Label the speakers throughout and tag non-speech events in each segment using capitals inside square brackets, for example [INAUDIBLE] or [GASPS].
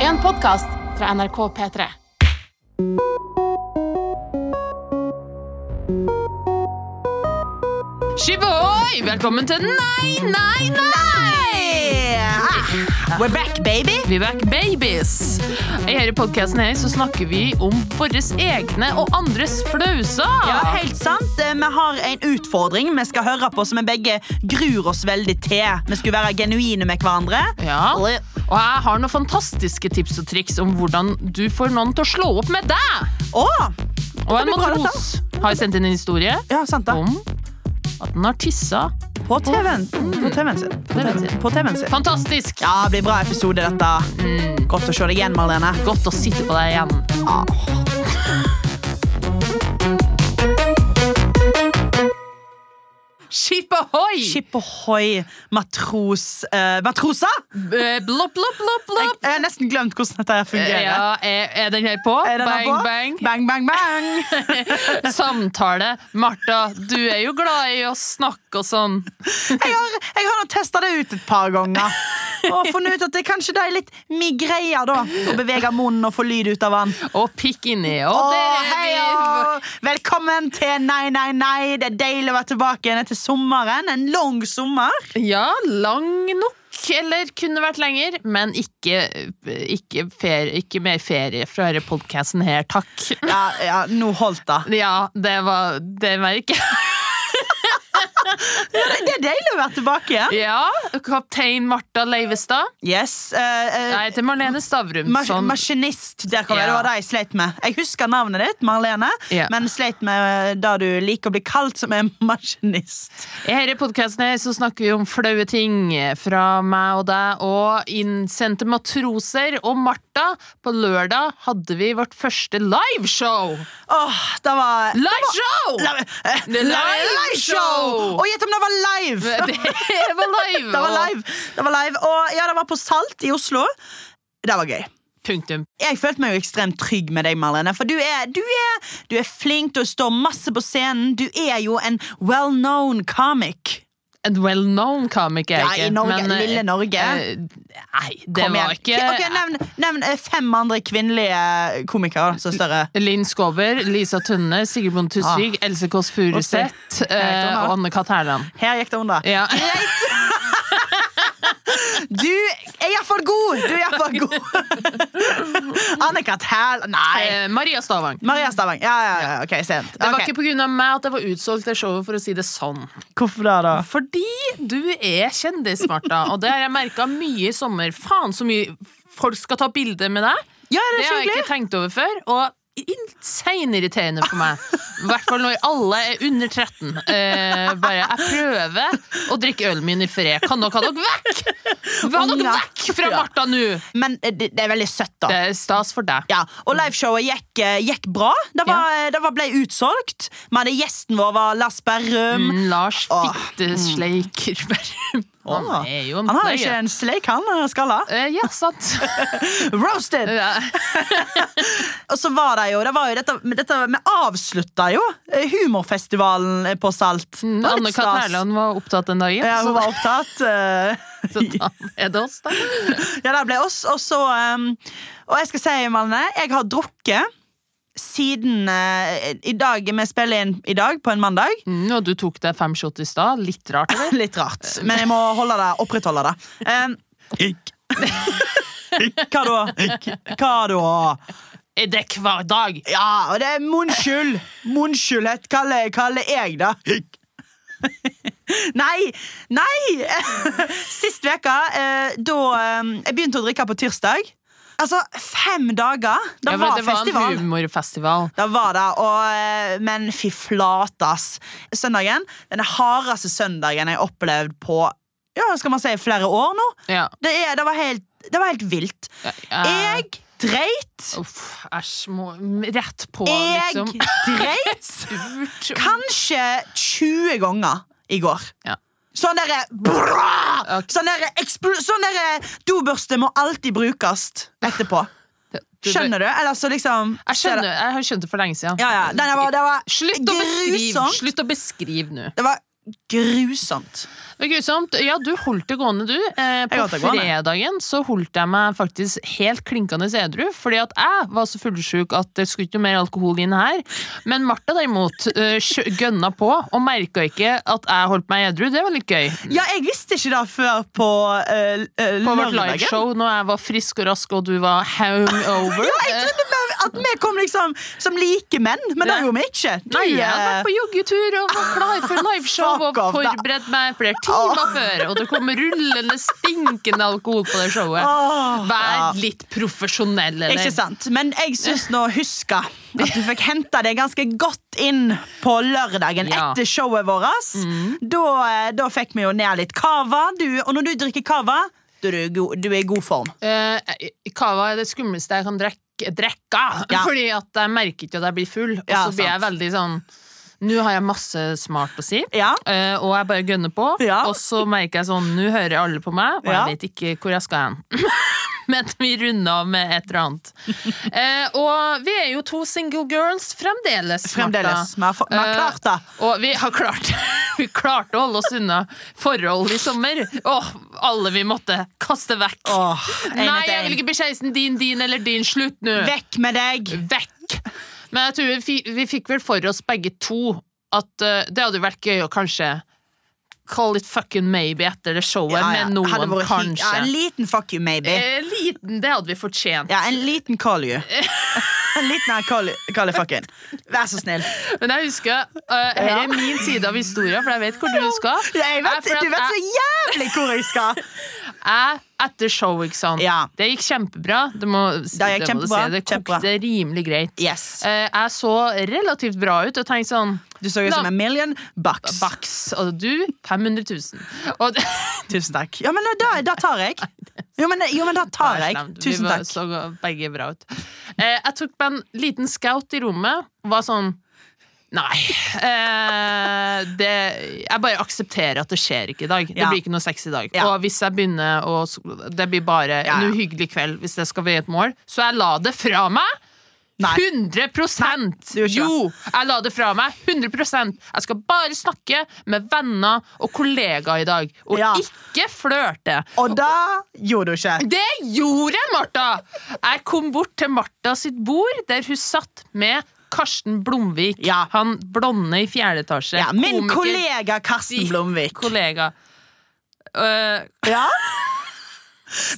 Speaker 1: En podkast fra NRK P3. Shibohoi! Velkommen til Nei, nei, nei!
Speaker 2: We're back, baby!
Speaker 1: Vi er back babies. I denne podkasten her så snakker vi om våre egne og andres flauser.
Speaker 2: Ja, helt sant. Eh, Vi har en utfordring vi skal høre på, som vi begge gruer oss veldig til. Vi skulle være genuine med hverandre.
Speaker 1: Ja. Og jeg har noen fantastiske tips og triks om hvordan du får noen til å slå opp med deg.
Speaker 2: Å!
Speaker 1: Og en
Speaker 2: blir bra,
Speaker 1: matros har sendt inn en historie
Speaker 2: Ja, sant da.
Speaker 1: om at den har tissa.
Speaker 2: På TV-en. På TV-en sin. På
Speaker 1: TV-en
Speaker 2: TV-en
Speaker 1: sin.
Speaker 2: sin. På TV-en sin.
Speaker 1: Fantastisk!
Speaker 2: Ja, det blir bra episode, dette.
Speaker 1: Mm,
Speaker 2: Godt å se deg igjen, Marlene.
Speaker 1: godt å sitte på deg igjen. Skip ahoy!
Speaker 2: Skip ohoi, matros... eh, matrosa?
Speaker 1: Eh, Blopp, blopp, blopp,
Speaker 2: Jeg,
Speaker 1: blopp.
Speaker 2: jeg har nesten glemt hvordan dette her fungerer.
Speaker 1: Ja, er, er den her på?
Speaker 2: Eh, Er den her
Speaker 1: bang,
Speaker 2: på?
Speaker 1: bang.
Speaker 2: Bang, bang, bang.
Speaker 1: [LAUGHS] Samtale. Martha, du er jo glad i å snakke og sånn.
Speaker 2: Jeg har, jeg har testa det ut et par ganger. Og funnet ut at det kanskje det er litt mi greie da, å bevege munnen og få lyd ut av den.
Speaker 1: Og pikk inni. Og
Speaker 2: Å,
Speaker 1: der
Speaker 2: hei,
Speaker 1: er vi.
Speaker 2: å. Velkommen til Nei, nei, nei. Det er deilig å være tilbake igjen etter sommeren. En lang sommer.
Speaker 1: Ja, lang nok. Eller kunne vært lenger, men ikke, ikke, ferie, ikke mer ferie fra denne podkasten her, takk.
Speaker 2: Ja, ja nå holdt det.
Speaker 1: Ja, det var det merker jeg.
Speaker 2: Det det er deilig å være tilbake igjen.
Speaker 1: [LAUGHS] Ja, kaptein Martha Leivestad.
Speaker 2: Yes. eh, eh,
Speaker 1: Jeg heter Marlene Stavrum.
Speaker 2: ma-
Speaker 1: som-
Speaker 2: Maskinist. Der kan jeg, Det
Speaker 1: Ja.
Speaker 2: var det jeg sleit med. Jeg husker navnet ditt, Marlene,
Speaker 1: Ja.
Speaker 2: men sleit med det du liker å bli kalt som en maskinist.
Speaker 1: I denne podkasten her så snakker vi om flaue ting fra meg og deg og innsendte matroser. Og Martha, på lørdag hadde vi vårt første liveshow!
Speaker 2: Åh, det var
Speaker 1: Liveshow!
Speaker 2: Live, eh,
Speaker 1: Det er live show!
Speaker 2: Og gjett om det var live! [LAUGHS]
Speaker 1: Det var live!
Speaker 2: Det var
Speaker 1: og-
Speaker 2: live. Det var live. Og ja, det var på Salt i Oslo. Det var gøy.
Speaker 1: Punktum.
Speaker 2: Jeg følte meg jo ekstremt trygg med deg, Marlene. For du er, du er, du er flink til å stå masse på scenen. Du er jo en well-known comic.
Speaker 1: En well-known komiker.
Speaker 2: Ja, i Norge,
Speaker 1: eh,
Speaker 2: lille Norge.
Speaker 1: eh, nei, det
Speaker 2: Kom
Speaker 1: var
Speaker 2: igjen.
Speaker 1: ikke
Speaker 2: Ok, nevn, nevn eh, fem andre kvinnelige eh, komikere som er større.
Speaker 1: Linn Skåber, Lisa Tønne, Sigrid Bonde Tusvik,
Speaker 2: Ah.
Speaker 1: Else Kåss Furuseth eh,
Speaker 2: Nei,
Speaker 1: og Anne Kat. Herland.
Speaker 2: Her gikk det under.
Speaker 1: Ja.
Speaker 2: Du er iallfall god! Du er iallfall god. [LAUGHS] Anne-Kat. Hæl... Nei.
Speaker 1: Eh, Maria Stavang.
Speaker 2: Maria Stavang. Ja, ja, ja. Ok, sent.
Speaker 1: Det var
Speaker 2: Ok.
Speaker 1: ikke pga. meg at det var utsolgt det showet, for å si det sånn.
Speaker 2: Hvorfor det, da?
Speaker 1: Fordi du er kjendis, Martha, og det har jeg merka mye i sommer. Faen så mye folk skal ta bilde med deg. Det
Speaker 2: Ja, det er
Speaker 1: har jeg
Speaker 2: hyggelig.
Speaker 1: ikke tenkt over før. Og insane irriterende for meg. I hvert fall når alle er under 13. Eh, bare Jeg prøver å drikke ølen min i fred. Kan dere ha dere vekk? Ha dere
Speaker 2: Unger.
Speaker 1: vekk fra
Speaker 2: Ja.
Speaker 1: Martha nå!
Speaker 2: Men eh, det, det er veldig søtt, da.
Speaker 1: Det er stas for deg.
Speaker 2: Ja, og liveshowet gikk, eh, gikk bra. Det, var, det var ble utsolgt. Vi hadde gjesten vår var Lars Berrum.
Speaker 1: Mm, Lars
Speaker 2: Åh.
Speaker 1: Fittesleik [LAUGHS] Berrum. Han
Speaker 2: Åh.
Speaker 1: er jo en
Speaker 2: Han har
Speaker 1: pløye.
Speaker 2: jo ikke en sleik, han eh, skalla.
Speaker 1: Eh, Ja,
Speaker 2: [LAUGHS]
Speaker 1: sant.
Speaker 2: Roasted!
Speaker 1: Ja.
Speaker 2: Og så var det jo, det var jo dette, men dette Vi avslutta jo eh, humorfestivalen eh, på Salt. Det var litt
Speaker 1: Mm, Anne Kat.
Speaker 2: stas.
Speaker 1: Herland var opptatt den dagen,
Speaker 2: Ja,
Speaker 1: så,
Speaker 2: hun var opptatt. eh, [LAUGHS]
Speaker 1: så da er det oss, da.
Speaker 2: Ja, det ble oss. Og så um, Og jeg skal si, Malene, jeg har drukket siden eh, i dag Vi spiller inn i dag, på en mandag.
Speaker 1: Mm, og du tok deg fem shot i stad. Litt rart, eller?
Speaker 2: Litt rart, men jeg må holde det, opprettholde det. Um, ikk. [LAUGHS] Hva da? Ikk. Hva da?
Speaker 1: Er det hver dag?
Speaker 2: Ja, og det er munnskyld. Munnskyldhet kaller, kaller jeg det. Ikk. [LAUGHS] Nei! Nei! [LAUGHS] Sist uke, eh, da eh, jeg begynte å drikke på tirsdag Altså, fem dager! Det
Speaker 1: Ja, for
Speaker 2: var,
Speaker 1: det var
Speaker 2: festival.
Speaker 1: en humorfestival.
Speaker 2: Det var det, og, eh, men fy flate, ass. Søndagen, den hardeste søndagen jeg har opplevd på ja, skal man si, flere år nå.
Speaker 1: Ja.
Speaker 2: Det, er, det, var, helt, det var helt vilt.
Speaker 1: Eh,
Speaker 2: Jeg dreit.
Speaker 1: Uff, æsj. må- Rett på,
Speaker 2: Jeg
Speaker 1: liksom.
Speaker 2: dreit
Speaker 1: Surt.
Speaker 2: kanskje 20 ganger i går.
Speaker 1: Ja.
Speaker 2: Sånn derre brrrr!
Speaker 1: Ok.
Speaker 2: Sånn derre ekspl- sånn derre dobørste må alltid brukes etterpå.
Speaker 1: Ah, Du,
Speaker 2: Skjønner du? Eller så liksom
Speaker 1: Jeg, skjønner, jeg har skjønt det for lenge siden.
Speaker 2: Ja, ja. Den var, det var
Speaker 1: Slutt å beskrive
Speaker 2: grusomt.
Speaker 1: Slutt å beskrive nå.
Speaker 2: Det var grusomt.
Speaker 1: Det var grusomt. Ja, du holdt det gående, du. Eh, på
Speaker 2: holdt det gående.
Speaker 1: fredagen så holdt jeg meg faktisk helt klinkende edru, fordi at jeg var så fullsjuk at det skulle ikke noe mer alkohol inn her. Men Martha derimot eh, kjø- gønna på og merka ikke at jeg holdt meg edru. Det var litt gøy.
Speaker 2: Ja, jeg visste ikke det før på uh,
Speaker 1: På vårt
Speaker 2: lørdagen.
Speaker 1: liveshow når jeg var frisk og rask og du var
Speaker 2: [LAUGHS]
Speaker 1: hangover. Eh,
Speaker 2: At vi kom liksom som like menn, men det
Speaker 1: Ja.
Speaker 2: gjorde vi ikke. Du,
Speaker 1: Nei, jeg hadde
Speaker 2: eh,
Speaker 1: vært på joggetur og var klar for liveshow
Speaker 2: Fuck
Speaker 1: og
Speaker 2: off, da.
Speaker 1: forberedt meg flere timer før, og det kom rullende, stinkende alkohol på det showet.
Speaker 2: åh, ja.
Speaker 1: Vær litt profesjonell, eller?
Speaker 2: Ikke sant, Men jeg syns nå huska at du fikk henta det ganske godt inn på lørdagen
Speaker 1: Ja.
Speaker 2: etter showet vårt. Da, eh, da fikk vi jo ned litt cava. Du, og når du drikker cava, da er du, go- du er i god form.
Speaker 1: Eh, Cava er det skumleste jeg kan drekke, drekke
Speaker 2: Ja.
Speaker 1: fordi at jeg merker ikke at jeg blir full. Og
Speaker 2: Ja,
Speaker 1: så blir jeg
Speaker 2: sant.
Speaker 1: veldig sånn Nå har jeg masse smart å si.
Speaker 2: Ja.
Speaker 1: eh, og jeg bare gønner på,
Speaker 2: Ja.
Speaker 1: og så merker jeg sånn Nå hører alle på meg, og
Speaker 2: Ja.
Speaker 1: jeg vet ikke hvor jeg skal hen. [LAUGHS] Men vi runder av med et eller annet. Eh, og vi er jo to single girls fremdeles.
Speaker 2: Fremdeles.
Speaker 1: Martha.
Speaker 2: Vi har, fa- vi har
Speaker 1: Eh,
Speaker 2: klart det.
Speaker 1: Og vi har klart [LAUGHS] Vi klarte å holde oss unna forhold i sommer. Åh, alle vi måtte kaste vekk.
Speaker 2: Åh, en
Speaker 1: Nei,
Speaker 2: etter
Speaker 1: jeg vil
Speaker 2: en.
Speaker 1: ikke bli kjæresten din, din eller din. Slutt nå!
Speaker 2: Vekk med deg!
Speaker 1: Vekk. Men jeg tror vi, fi- vi fikk vel for oss begge to at eh, det hadde jo vært gøy å kanskje Call it fucking maybe etter det showet
Speaker 2: Ja, ja.
Speaker 1: med
Speaker 2: Hadde
Speaker 1: noen,
Speaker 2: vært hy-
Speaker 1: kanskje.
Speaker 2: Ja, en liten fuck you, maybe.
Speaker 1: Eh, liten, det hadde vi fortjent.
Speaker 2: Ja, en liten call [LAUGHS] you. En liten her call, you- call you fucking. Vær så snill.
Speaker 1: Men jeg husker uh, Her
Speaker 2: Ja.
Speaker 1: er min side av historien, for jeg vet hvor du skal.
Speaker 2: Jeg vet,
Speaker 1: for at
Speaker 2: du vet så
Speaker 1: jeg-
Speaker 2: jævlig hvor jeg skal!
Speaker 1: jeg etter show, ikke sant.
Speaker 2: Ja.
Speaker 1: Det gikk kjempebra. Det, må, det,
Speaker 2: gikk
Speaker 1: må du
Speaker 2: kjempebra,
Speaker 1: si. Det
Speaker 2: kjempebra.
Speaker 1: kokte rimelig greit.
Speaker 2: Yes.
Speaker 1: Eh, jeg så relativt bra ut og tenkte sånn
Speaker 2: Du så ut
Speaker 1: La-
Speaker 2: som en million bucks.
Speaker 1: Baks, og du 500 000. Og det,
Speaker 2: [LAUGHS]
Speaker 1: [LAUGHS]
Speaker 2: Tusen takk. Ja, men da, da tar jeg. Jo, men, jo, men da tar jeg. Tusen
Speaker 1: Vi var,
Speaker 2: takk.
Speaker 1: så begge bra ut. Eh, jeg tok på en liten scout i rommet og var sånn Nei. Eh, det, jeg bare aksepterer at det skjer ikke i dag. Det
Speaker 2: Ja.
Speaker 1: blir ikke noe sex i dag.
Speaker 2: Ja.
Speaker 1: Og hvis jeg begynner å Det blir bare
Speaker 2: Ja, ja.
Speaker 1: en uhyggelig kveld hvis det skal bli et mål. Så jeg la det fra meg.
Speaker 2: Nei.
Speaker 1: 100
Speaker 2: du gjorde ikke
Speaker 1: Jo! Jeg la det fra meg. 100 Jeg skal bare snakke med venner og kollegaer i dag, og
Speaker 2: Ja.
Speaker 1: ikke flørte.
Speaker 2: Og da gjorde du ikke.
Speaker 1: Det gjorde jeg, Martha! Jeg kom bort til Martha sitt bord, der hun satt med Karsten Blomvik.
Speaker 2: Ja.
Speaker 1: Han blonde i fjerde etasje.
Speaker 2: Ja, min
Speaker 1: Komiker,
Speaker 2: kollega Karsten
Speaker 1: ditt
Speaker 2: Blomvik.
Speaker 1: Kollega. Øh, [LAUGHS]
Speaker 2: Ja?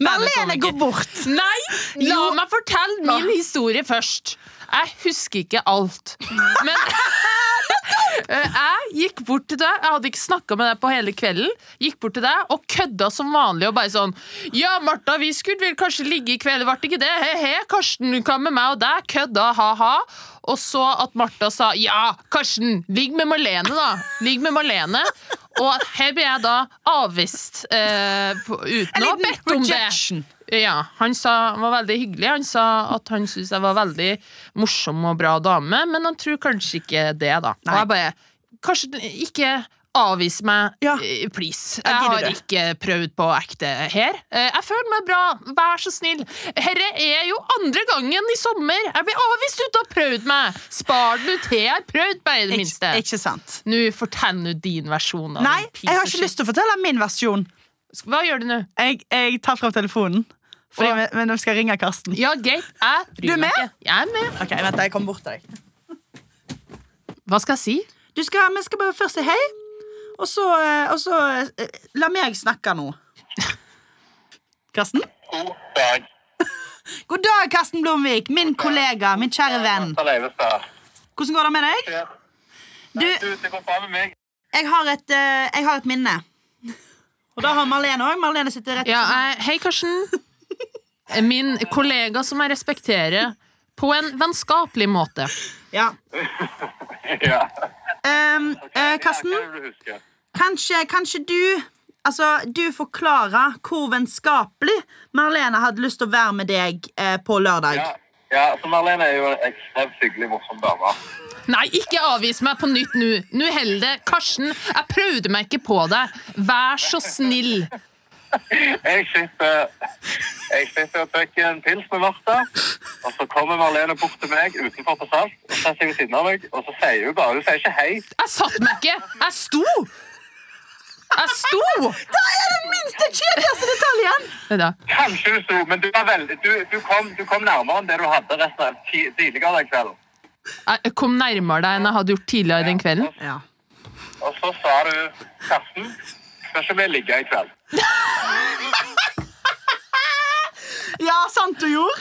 Speaker 2: Marlene
Speaker 1: Standup-komiker.
Speaker 2: går bort.
Speaker 1: nei! La
Speaker 2: Jo.
Speaker 1: meg fortelle min historie først. Jeg husker ikke alt. Men [LAUGHS] Øh, jeg gikk bort til deg, jeg hadde ikke snakka med deg på hele kvelden, gikk bort til deg og kødda som vanlig og bare sånn Ja, Martha, vi skulle vel kanskje ligge i kveld, ble det ikke det? He-he, Karsten, hva med meg og deg? Kødda, ha-ha. Og så at Martha sa ja, Karsten, ligg med Marlene, da. Ligg med Marlene. Og her blir jeg da avvist eh, på, uten å ha
Speaker 2: liten
Speaker 1: bedt om det.
Speaker 2: rejection.
Speaker 1: Ja, han sa, han var veldig hyggelig. Han sa at han syntes jeg var veldig morsom og bra dame, men han tror kanskje ikke det, da. Og
Speaker 2: Nei.
Speaker 1: jeg bare Kanskje ikke avvis meg,
Speaker 2: Ja.
Speaker 1: eh, please.
Speaker 2: Jeg
Speaker 1: Jeg
Speaker 2: gidder
Speaker 1: har
Speaker 2: det.
Speaker 1: ikke prøvd på ekte her. Eh, Jeg føler meg bra, vær så snill. Herre er jo andre gangen i sommer. Jeg blir avvist uten å ha prøvd meg. Spar den ut til jeg har prøvd meg, i det minste.
Speaker 2: Ik ikke sant.
Speaker 1: Nå fortell nå din versjon. Av
Speaker 2: Nei, jeg har ikke lyst til å fortelle min versjon.
Speaker 1: Hva gjør du nå?
Speaker 2: Jeg, jeg tar fram telefonen, fordi
Speaker 1: Og-
Speaker 2: vi, men vi skal ringe Karsten.
Speaker 1: Ja, greit. Jeg bryr
Speaker 2: Du er
Speaker 1: meg
Speaker 2: med?
Speaker 1: ikke. Jeg er med.
Speaker 2: Ok, vent, jeg kommer bort til deg.
Speaker 1: Hva skal jeg si?
Speaker 2: Du skal, vi skal bare først si hei, og så, eh, og så eh, La meg snakke nå. Karsten?
Speaker 3: God dag.
Speaker 2: God dag, Karsten Blomvik, min kollega, min kjære venn.
Speaker 3: Martha Leivestad.
Speaker 2: Hvordan går det med deg?
Speaker 3: Ja.
Speaker 2: Du,
Speaker 3: Du, det går bra med meg. [LAUGHS]
Speaker 2: jeg har et, eh, jeg har et minne. Og da har Marlene òg. Marlene sitter rett
Speaker 1: Ja, jeg, hei, Karsten. Min kollega som jeg respekterer på en vennskapelig måte.
Speaker 2: Ja.
Speaker 3: Ja.
Speaker 2: Ehm, eh,
Speaker 3: Ja,
Speaker 2: Karsten,
Speaker 3: hva vil du huske?
Speaker 2: kanskje, kanskje du Altså, du forklarer hvor vennskapelig Marlene hadde lyst til å være med deg eh, på lørdag.
Speaker 3: Ja. ja, så Marlene er jo en ekstremt hyggelig, morsom dame.
Speaker 1: Nei, ikke avvis meg på nytt nå. Nå holder det. Karsten, jeg prøvde meg ikke på deg. Vær så snill.
Speaker 3: Jeg sitter, jeg sitter og drikker en pils med Martha, og så kommer Marlene bort til meg utenfor på Salt, og så sitter hun ved siden av meg, og så sier hun bare, hun sier ikke hei.
Speaker 1: Jeg satt meg ikke. Jeg sto. Jeg sto!
Speaker 2: Da er det minste kjedeligste detaljen!
Speaker 1: Det da.
Speaker 3: Kanskje du sto, men du, var veldig, du, du, kom, du kom nærmere enn det du hadde resten av ti, tidligere den kvelden.
Speaker 1: Jeg kom nærmere deg enn jeg hadde gjort tidligere den kvelden.
Speaker 2: Ja.
Speaker 3: Og så sa du Karsten, skal ikke vi ligge i kveld?
Speaker 2: ja, sant du gjorde.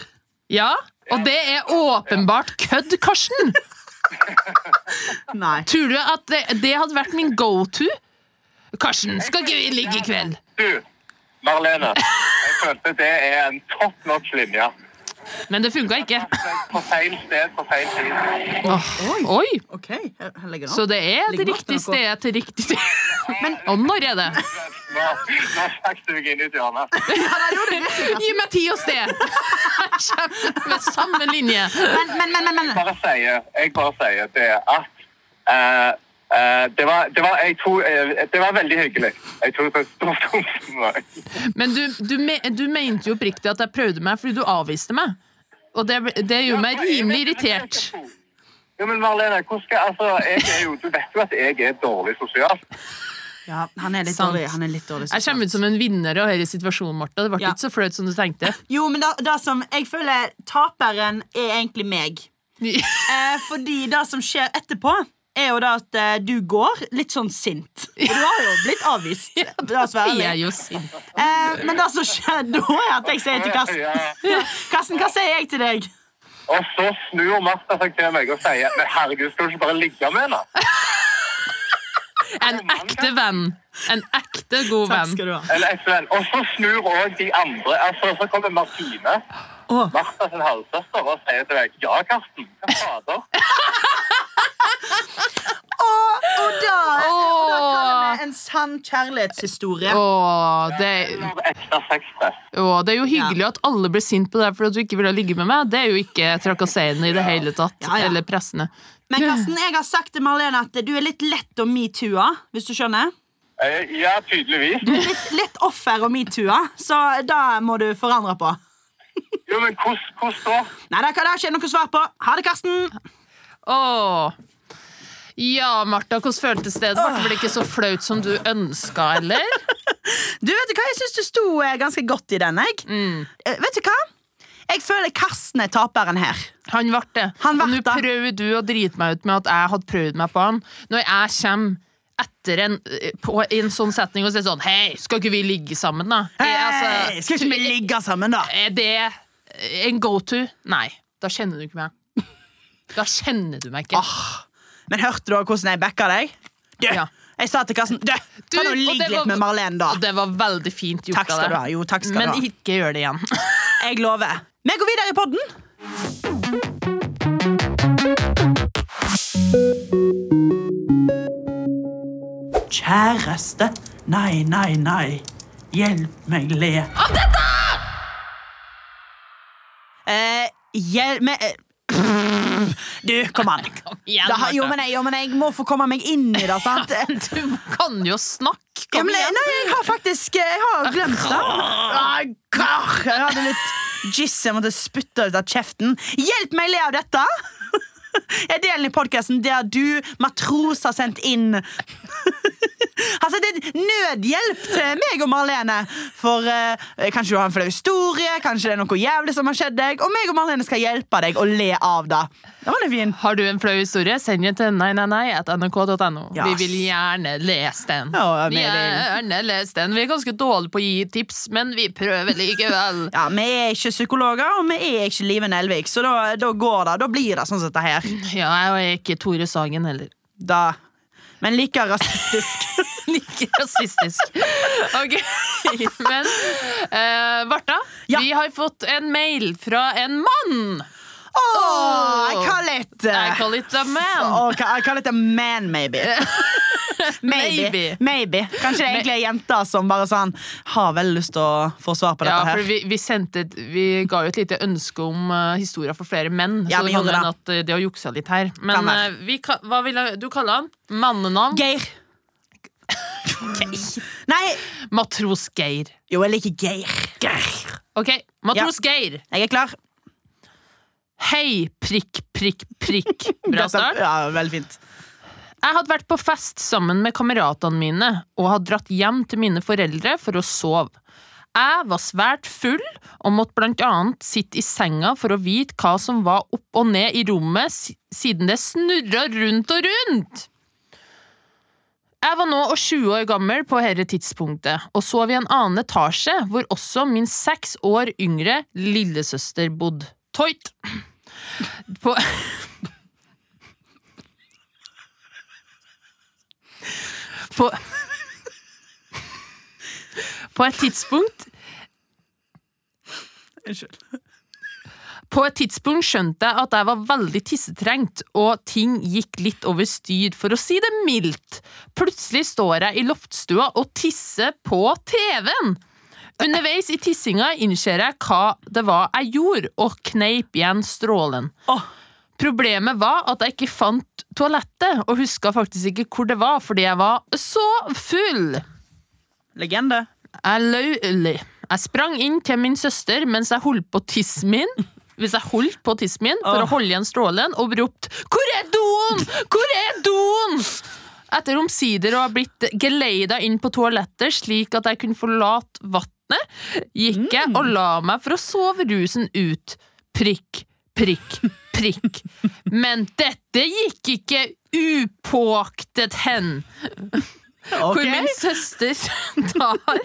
Speaker 1: Ja, og det er åpenbart kødd, Karsten!
Speaker 2: Nei.
Speaker 1: Tror du at det, det hadde vært min go to? Karsten, skal ikke vi ligge i kveld?
Speaker 3: Du, Marlene, jeg følte det er en topp notch linje.
Speaker 1: Men det funka ikke.
Speaker 3: På feil sted, på feil tid.
Speaker 1: Åh, oi!
Speaker 2: OK, her, her legger
Speaker 1: Så
Speaker 2: den opp.
Speaker 1: det er det
Speaker 2: Ligger
Speaker 1: riktige
Speaker 2: nok noe.
Speaker 1: stedet til riktig tid. Og når er det?
Speaker 3: Nå, nå snakket du meg inn i et hjørne.
Speaker 2: Ja, det gjorde det virkelig.
Speaker 1: Gi meg tid og sted! Jeg kommer Med samme linje.
Speaker 2: Men, men, men, men, men.
Speaker 3: Bare sier, jeg bare sier det at eh, eh, det, var, det, var, jeg tror, eh, det var veldig hyggelig. Jeg tror det var stort for meg.
Speaker 1: Men du, du, me, du mente jo oppriktig at jeg prøvde meg fordi du avviste meg. Og det, det gjorde meg rimelig irritert.
Speaker 3: Jo, men Marlene, hvordan skal, altså, jeg er jo, du vet jo at jeg er dårlig sosial.
Speaker 2: Ja, han er litt
Speaker 1: Sant.
Speaker 2: dårlig. Han er litt dårlig
Speaker 1: Jeg kommer ut som en vinner av denne situasjonen, Martha. Det ble
Speaker 2: Ja.
Speaker 1: ikke så flaut som du tenkte.
Speaker 2: Jo, men da, da som jeg føler taperen er egentlig meg.
Speaker 1: Ja,
Speaker 2: Eh, fordi det som skjer etterpå, er jo da at eh, du går litt sånn sint. For Du har jo blitt
Speaker 1: [LAUGHS]
Speaker 2: avvist. la oss være
Speaker 1: Jeg er
Speaker 2: ærlig.
Speaker 1: jo sint.
Speaker 2: Eh, men det som skjer da, er at jeg sier til Karsten
Speaker 3: Ja.
Speaker 2: Karsten, hva sier jeg til deg?
Speaker 3: Og så snur Martha seg til meg og sier Men herregud, skal du ikke bare ligge med henne?
Speaker 1: En ekte venn. En ekte god
Speaker 2: Takk
Speaker 1: venn.
Speaker 2: skal du ha.
Speaker 3: Eller et eller annet. Og så snur òg de andre. Altså, så kommer Martine,
Speaker 2: Åh.
Speaker 3: Martha sin halvsøster, og sier til meg Ja, Karsten. Hva fader?
Speaker 2: Og, og da, og da kaller
Speaker 1: Åh.
Speaker 2: vi en sann kjærlighetshistorie.
Speaker 1: Å, det,
Speaker 3: Eller ekte sexpress.
Speaker 1: å, det er jo hyggelig at alle ble sint på deg for at du ikke ville ligge med meg. Det er jo ikke trakasserende i det hele tatt.
Speaker 2: Ja, ja.
Speaker 1: Eller pressende.
Speaker 2: Men Karsten, jeg har sagt til Marlene at du er litt lett å metoo-a, hvis du skjønner.
Speaker 3: Eh, Ja, tydeligvis.
Speaker 2: Litt, litt offer og metoo-a, så da må du forandre på.
Speaker 3: Jo, men hvordan hvordan da?
Speaker 2: Nei, det kan det ikke noe svar på. Ha det, Karsten.
Speaker 1: Åh. Ja, Martha, hvordan føltes det? Det ble vel ikke så flaut som du ønska, eller?
Speaker 2: Du vet du hva, Jeg syns du sto eh, ganske godt i den. jeg
Speaker 1: Mm.
Speaker 2: Eh, Vet du hva? Jeg føler Karsten er taperen her.
Speaker 1: Han ble det.
Speaker 2: Han
Speaker 1: og
Speaker 2: ble
Speaker 1: nå
Speaker 2: det.
Speaker 1: prøver du å drite meg ut med at jeg hadde prøvd meg på han. Når jeg kommer etter en, på, i en sånn setning og sier sånn Hei, skal ikke vi ligge sammen, da? Eh, altså,
Speaker 2: Hei, Eh, skal ikke vi ligge sammen, da?
Speaker 1: Er det en go to? Nei. Da kjenner du ikke meg. Da kjenner du meg ikke.
Speaker 2: Men hørte du også hvordan jeg backa deg? Du,
Speaker 1: Ja.
Speaker 2: Jeg sa til Karsten Du,
Speaker 1: Du,
Speaker 2: ta nå
Speaker 1: og
Speaker 2: ligg
Speaker 1: det var-
Speaker 2: litt med Marlene,
Speaker 1: Og
Speaker 2: da.
Speaker 1: det var veldig fint gjort
Speaker 2: Takk skal
Speaker 1: av
Speaker 2: du
Speaker 1: deg.
Speaker 2: ha. Jo, takk skal
Speaker 1: Men
Speaker 2: du ha.
Speaker 1: ikke gjør
Speaker 2: [LAUGHS]
Speaker 1: det igjen.
Speaker 2: Jeg lover. Vi går videre i podden. Kjæreste. Nei, nei, nei. Hjelp meg le. Av dette! Eh, hjelp meg eh, Du, kom an.
Speaker 1: igjen,
Speaker 2: Da, jo,
Speaker 1: Martha.
Speaker 2: men jeg, jo, men jeg må få komme meg inn i det, sant?
Speaker 1: [LAUGHS] Du kan jo snakke.
Speaker 2: Ja,
Speaker 1: Kom
Speaker 2: men,
Speaker 1: igjen.
Speaker 2: nei, jeg har faktisk eh, Jeg har glemt det. Ah, grr. Jeg hadde litt jizz jeg måtte spytte ut av kjeften. Hjelp meg, le av dette! [LAUGHS] Jeg deler i podkasten der du, matros, har sendt inn [LAUGHS] Har sendt inn nødhjelp til meg og Marlene. For eh, kanskje du har en flau historie, kanskje det er noe jævlig som har skjedd deg. Og meg og Marlene skal hjelpe deg å le av det. Det var litt fin.
Speaker 1: Har du en flau historie, send den til nei, nei, nei at nrk.no. Vi
Speaker 2: Yes.
Speaker 1: vil gjerne lese den.
Speaker 2: Ja,
Speaker 1: vi
Speaker 2: med
Speaker 1: gjerne lese den. Vi er ganske dårlige på å gi tips, men vi prøver likevel.
Speaker 2: [LAUGHS] Ja, Vi er ikke psykologer, og vi er ikke Live Nelvik, så da, da går det. Da blir det sånn som dette her.
Speaker 1: Ja, jeg er ikke Tore Sagen [LAUGHS] heller.
Speaker 2: da. Men like
Speaker 1: [LAUGHS]
Speaker 2: rasistisk.
Speaker 1: Like rasistisk. Ok, [LAUGHS] men uh, Barta,
Speaker 2: Ja.
Speaker 1: vi har fått en mail fra en mann.
Speaker 2: Åh, I call it
Speaker 1: I call it a man.
Speaker 2: Åh, I call it a man, maybe.
Speaker 1: [LAUGHS] Maybe.
Speaker 2: maybe. maybe. Kanskje det egentlig er jenter som bare sånn har veldig lyst til å få svar på
Speaker 1: Ja,
Speaker 2: dette
Speaker 1: for
Speaker 2: her.
Speaker 1: vi, vi, sendte, et- vi ga jo et lite ønske om eh, historier for flere menn.
Speaker 2: Ja,
Speaker 1: så
Speaker 2: vi
Speaker 1: det kan
Speaker 2: gjorde
Speaker 1: hende at eh, de har juksa litt her. Men
Speaker 2: Kan være.
Speaker 1: eh, vi, ka- hva vil jeg- du kalle han? Mannenavn?
Speaker 2: Geir. Nei,
Speaker 1: Matros Geir.
Speaker 2: jo, jeg liker Geir. Geir.
Speaker 1: Ok, Matros Geir.
Speaker 2: Jeg er klar.
Speaker 1: Hei, prikk, prikk, prikk. Bra
Speaker 2: [LAUGHS] Dette-
Speaker 1: start.
Speaker 2: Ja, veldig fint.
Speaker 1: Jeg hadde vært på fest sammen med kameratene mine og hadde dratt hjem til mine foreldre for å sove. Jeg var svært full og måtte blant annet sitte i senga for å vite hva som var opp og ned i rommet si- siden det snurra rundt og rundt. Jeg var nå 20 år gammel på dette tidspunktet og sov i en annen etasje hvor også min seks år yngre lillesøster bodde. Toit! På på, [LAUGHS] på et tidspunkt
Speaker 2: Unnskyld.
Speaker 1: På et tidspunkt skjønte jeg at jeg var veldig tissetrengt, og ting gikk litt over styr, for å si det mildt. Plutselig står jeg i loftstua og tisser på TV-en. Underveis i tissinga innser jeg hva det var jeg gjorde, og kneip igjen strålen.
Speaker 2: Åh.
Speaker 1: Problemet var at jeg ikke fant toalettet, og huska faktisk ikke hvor det var, fordi jeg var så full.
Speaker 2: Legende.
Speaker 1: Jeg løy eller, Jeg sprang inn til min søster mens jeg holdt på tissen min. Hvis jeg holdt på tissen min for
Speaker 2: Åh.
Speaker 1: å holde igjen strålen og ropte 'Hvor er doen?! Hvor er doen?!' Etter omsider å ha blitt geleida inn på toalettet slik at jeg kunne forlate vannet, gikk jeg og la meg for å sove rusen ut. Prikk, prikk, prikk. Men dette gikk ikke upåaktet hen
Speaker 2: Ok.
Speaker 1: hvor min søster [LAUGHS] tar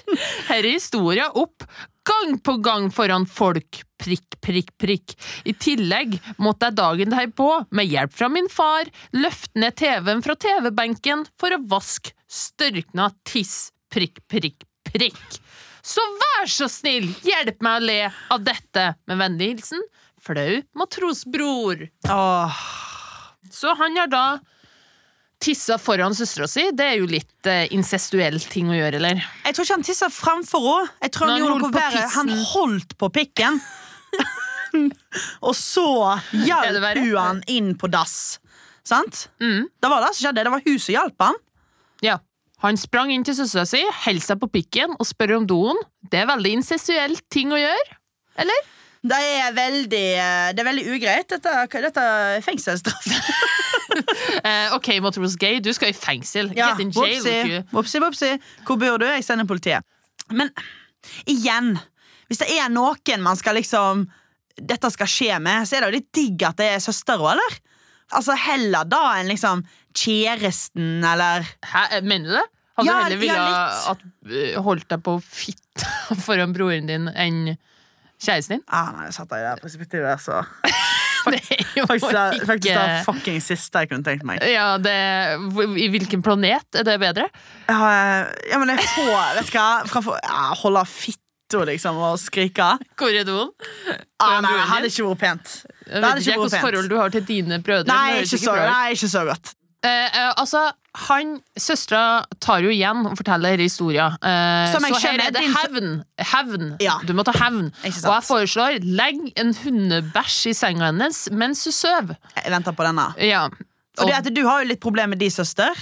Speaker 1: herre historia opp gang på gang foran folk. Prikk, prikk, prikk. I tillegg måtte jeg dagen derpå, med hjelp fra min far, løfte ned TV-en fra TV-benken for å vaske størkna tiss. Prikk, prikk, prikk. Så vær så snill, hjelp meg å le av dette. Med vennlig hilsen flau matrosbror.
Speaker 2: Åh.
Speaker 1: Så han har da tissa foran søstera si. Det er jo litt eh, incestuell ting å gjøre, eller?
Speaker 2: Jeg tror ikke han tissa framfor henne. Jeg tror han,
Speaker 1: Nei, han
Speaker 2: gjorde
Speaker 1: holdt
Speaker 2: noe
Speaker 1: på
Speaker 2: verre. Han
Speaker 1: tissen.
Speaker 2: holdt på
Speaker 1: [LAUGHS]
Speaker 2: pikken. og så
Speaker 1: Er det
Speaker 2: hjalp
Speaker 1: verre?
Speaker 2: hun han inn på dass. Sant? Det var det som skjedde. Det var hun som hjalp han.
Speaker 1: Mm, Ja. Han sprang inn til søstera si, holdt seg på pikken og spør om doen. Det er veldig incestuell ting å gjøre, eller?
Speaker 2: Det er veldig, eh, det er veldig ugreit. Dette, dette er fengselsstraff.
Speaker 1: Eh, ok, Motorola Gay, du skal i fengsel.
Speaker 2: Ja,
Speaker 1: Get in jail.
Speaker 2: whoopsie,
Speaker 1: you.
Speaker 2: whoopsie, whoopsie. Hvor bor du? Jeg sender politiet. Men igjen, hvis det er noen man skal liksom Dette skal skje med, så er det jo litt digg at det er søster òg, eller? Altså Heller da enn liksom kjæresten, eller
Speaker 1: Hæ, eh, mener du det? Hadde
Speaker 2: Ja,
Speaker 1: du heller villet
Speaker 2: ja,
Speaker 1: at eh, holdt deg på fitta [LAUGHS] foran broren din enn
Speaker 2: [LAUGHS]
Speaker 1: kjæresten din?
Speaker 2: ah, Nei, jeg satt i det perspektivet der, så
Speaker 1: Det er jo [LAUGHS]
Speaker 2: Faktisk, det- faktisk det er
Speaker 1: ikke
Speaker 2: fucking siste jeg kunne tenkt meg.
Speaker 1: ja, det, hvor- I hvilken planet er det bedre?
Speaker 2: Ja, ja, men jeg får Vet du hva? Fra, for- ja, holde fitta, liksom, og skrike.
Speaker 1: Hvor er doen?
Speaker 2: Ah,
Speaker 1: Foran broren
Speaker 2: nei, det
Speaker 1: din?
Speaker 2: hadde ikke vært pent.
Speaker 1: Jeg
Speaker 2: Det
Speaker 1: vet
Speaker 2: hadde
Speaker 1: ikke
Speaker 2: ikke vært
Speaker 1: hvilket forhold
Speaker 2: pent.
Speaker 1: du har til dine brødre. men det
Speaker 2: Nei,
Speaker 1: høres
Speaker 2: ikke så,
Speaker 1: bra ut.
Speaker 2: nei, ikke så godt.
Speaker 1: Eh, eh, altså, han, søstera tar jo igjen og forteller hele historia. Eh,
Speaker 2: Som jeg
Speaker 1: så her
Speaker 2: skjønner,
Speaker 1: er det
Speaker 2: din sø-
Speaker 1: hevn. Hevn.
Speaker 2: Ja.
Speaker 1: Du må ta hevn.
Speaker 2: Ikke
Speaker 1: Og
Speaker 2: sant.
Speaker 1: jeg foreslår legg en hundebæsj i senga hennes mens hun sover.
Speaker 2: Jeg venter på denne.
Speaker 1: Ja.
Speaker 2: Og det at Du har jo litt problemer med de søster,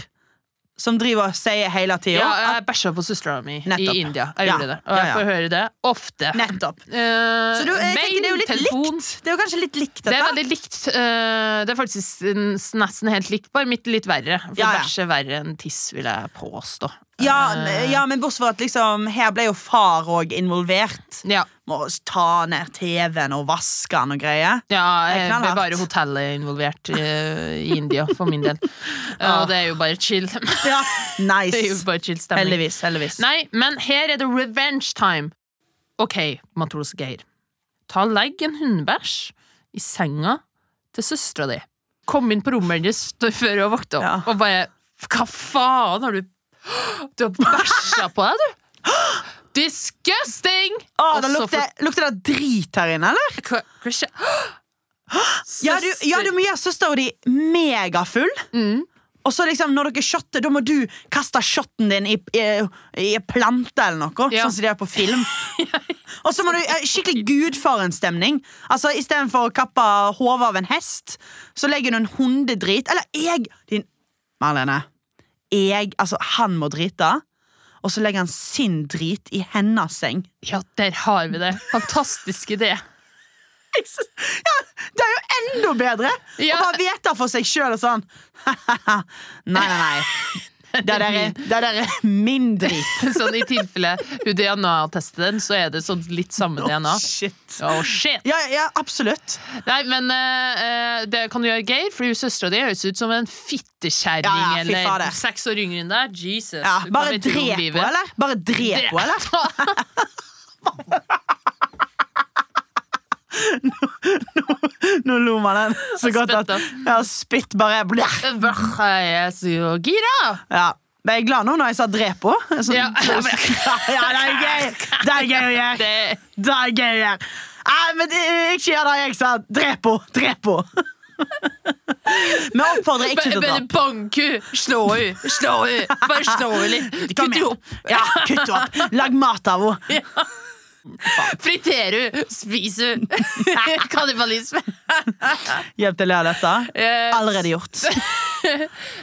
Speaker 2: som driver og sier hele tida
Speaker 1: ja, jeg bæsja på søstera mi i
Speaker 2: Nettopp.
Speaker 1: India. Jeg
Speaker 2: Ja.
Speaker 1: gjorde det. Og jeg
Speaker 2: Ja, ja.
Speaker 1: får høre det ofte.
Speaker 2: Nettopp.
Speaker 1: Eh,
Speaker 2: Så du, jeg
Speaker 1: mail,
Speaker 2: tenker Det er jo litt
Speaker 1: telefon.
Speaker 2: likt. Det er jo kanskje litt likt,
Speaker 1: Det
Speaker 2: dette.
Speaker 1: er veldig likt. eh, det er faktisk s- nesten helt likt, bare mitt litt verre. For
Speaker 2: Ja, ja.
Speaker 1: bæsj er verre enn tiss, vil jeg påstå.
Speaker 2: ja,
Speaker 1: Eh,
Speaker 2: n- ja, men bortsett fra at liksom, her ble jo far òg involvert.
Speaker 1: ja.
Speaker 2: Må s- ta ned TV-en og vaske den og greier.
Speaker 1: Ja,
Speaker 2: Det er
Speaker 1: jeg ble
Speaker 2: knallhardt.
Speaker 1: bare hotellet involvert i, i India, for min
Speaker 2: [LAUGHS]
Speaker 1: del.
Speaker 2: Ja.
Speaker 1: Og det er jo bare chill. [LAUGHS] Det
Speaker 2: Ah. Ja,
Speaker 1: er jo
Speaker 2: Nice.
Speaker 1: bare chill stemning.
Speaker 2: Heldigvis. heldigvis
Speaker 1: Nei, men her er det revenge time. Ok, Matros Geir. Ta og Legg en hundebæsj i senga til søstera di. Kom inn på rommet hennes stå- før hun våkner opp,
Speaker 2: Ja.
Speaker 1: og bare Hva faen har du Du har bæsja på deg, du! Disgusting!
Speaker 2: Å, det
Speaker 1: Og så
Speaker 2: lukter, lukter det drit her inne, eller?
Speaker 1: for- Hva- hva skjer?
Speaker 2: Ja, du, ja, du må gjøre søstera di megafull.
Speaker 1: Mm.
Speaker 2: Og så liksom, når dere shotter, da må du kaste shotten din i, i, i en plante eller noe.
Speaker 1: Ja.
Speaker 2: Sånn som de gjør på
Speaker 1: [LAUGHS]
Speaker 2: film. Og så må du eh, skikkelig gudfarenstemning. Altså, Istedenfor å kappe hodet av en hest, så legger du en hundedrit. Eller jeg! Din Marlene. Jeg Altså, han må drite. Og så legger han sin drit i hennes seng.
Speaker 1: Ja, der har vi det. Fantastisk idé.
Speaker 2: Jeg synes- Ja, det er jo enda bedre!
Speaker 1: Ja.
Speaker 2: Å bare vite for seg sjøl og sånn [LAUGHS] Nei, nei,
Speaker 1: [LAUGHS]
Speaker 2: nei. Det der er, det der er min drit.
Speaker 1: Sånn I tilfelle hun DNA-tester den, så er det sånn litt samme DNA.
Speaker 2: Å, shit.
Speaker 1: Å, shit!
Speaker 2: Ja, ja, absolutt.
Speaker 1: Nei, men eh, eh, det kan du gjøre, Geir, fordi søstera di høres ut som en fittekjerring
Speaker 2: Ja, ja, fy fader.
Speaker 1: eller seks år yngre enn deg. Jesus.
Speaker 2: Ja,
Speaker 1: Hun
Speaker 2: bare
Speaker 1: kan ikke noe om
Speaker 2: drep
Speaker 1: livet.
Speaker 2: henne, eller? Bare drep henne, eller? [LAUGHS] Nå lo man den så godt
Speaker 1: spytt
Speaker 2: at Ja, spytt bare blæh.
Speaker 1: Hva er jeg så gira?
Speaker 2: Ja. Men jeg er glad nå når jeg sa drep henne. Så-
Speaker 1: Ja.
Speaker 2: så- [LAUGHS] ja, det er gøy! Det er gøy å gjøre.
Speaker 1: Det-
Speaker 2: Det er gøy å gjøre. Nei, men det- ikke gjør det jeg sa. Drep henne! Drep henne! Vi oppfordrer ikke til å
Speaker 1: Bare
Speaker 2: drepe.
Speaker 1: banke henne! Slå henne! Slå henne! Bare slå henne litt.
Speaker 2: Kom
Speaker 1: Kutt
Speaker 2: igjen.
Speaker 1: henne opp.
Speaker 2: Ja, kutt henne opp. Lag mat av henne.
Speaker 1: Fritere henne! Spis henne! [LAUGHS] Kannibalisme.
Speaker 2: Hjelp til å le av dette.
Speaker 1: Eh,
Speaker 2: Allerede gjort.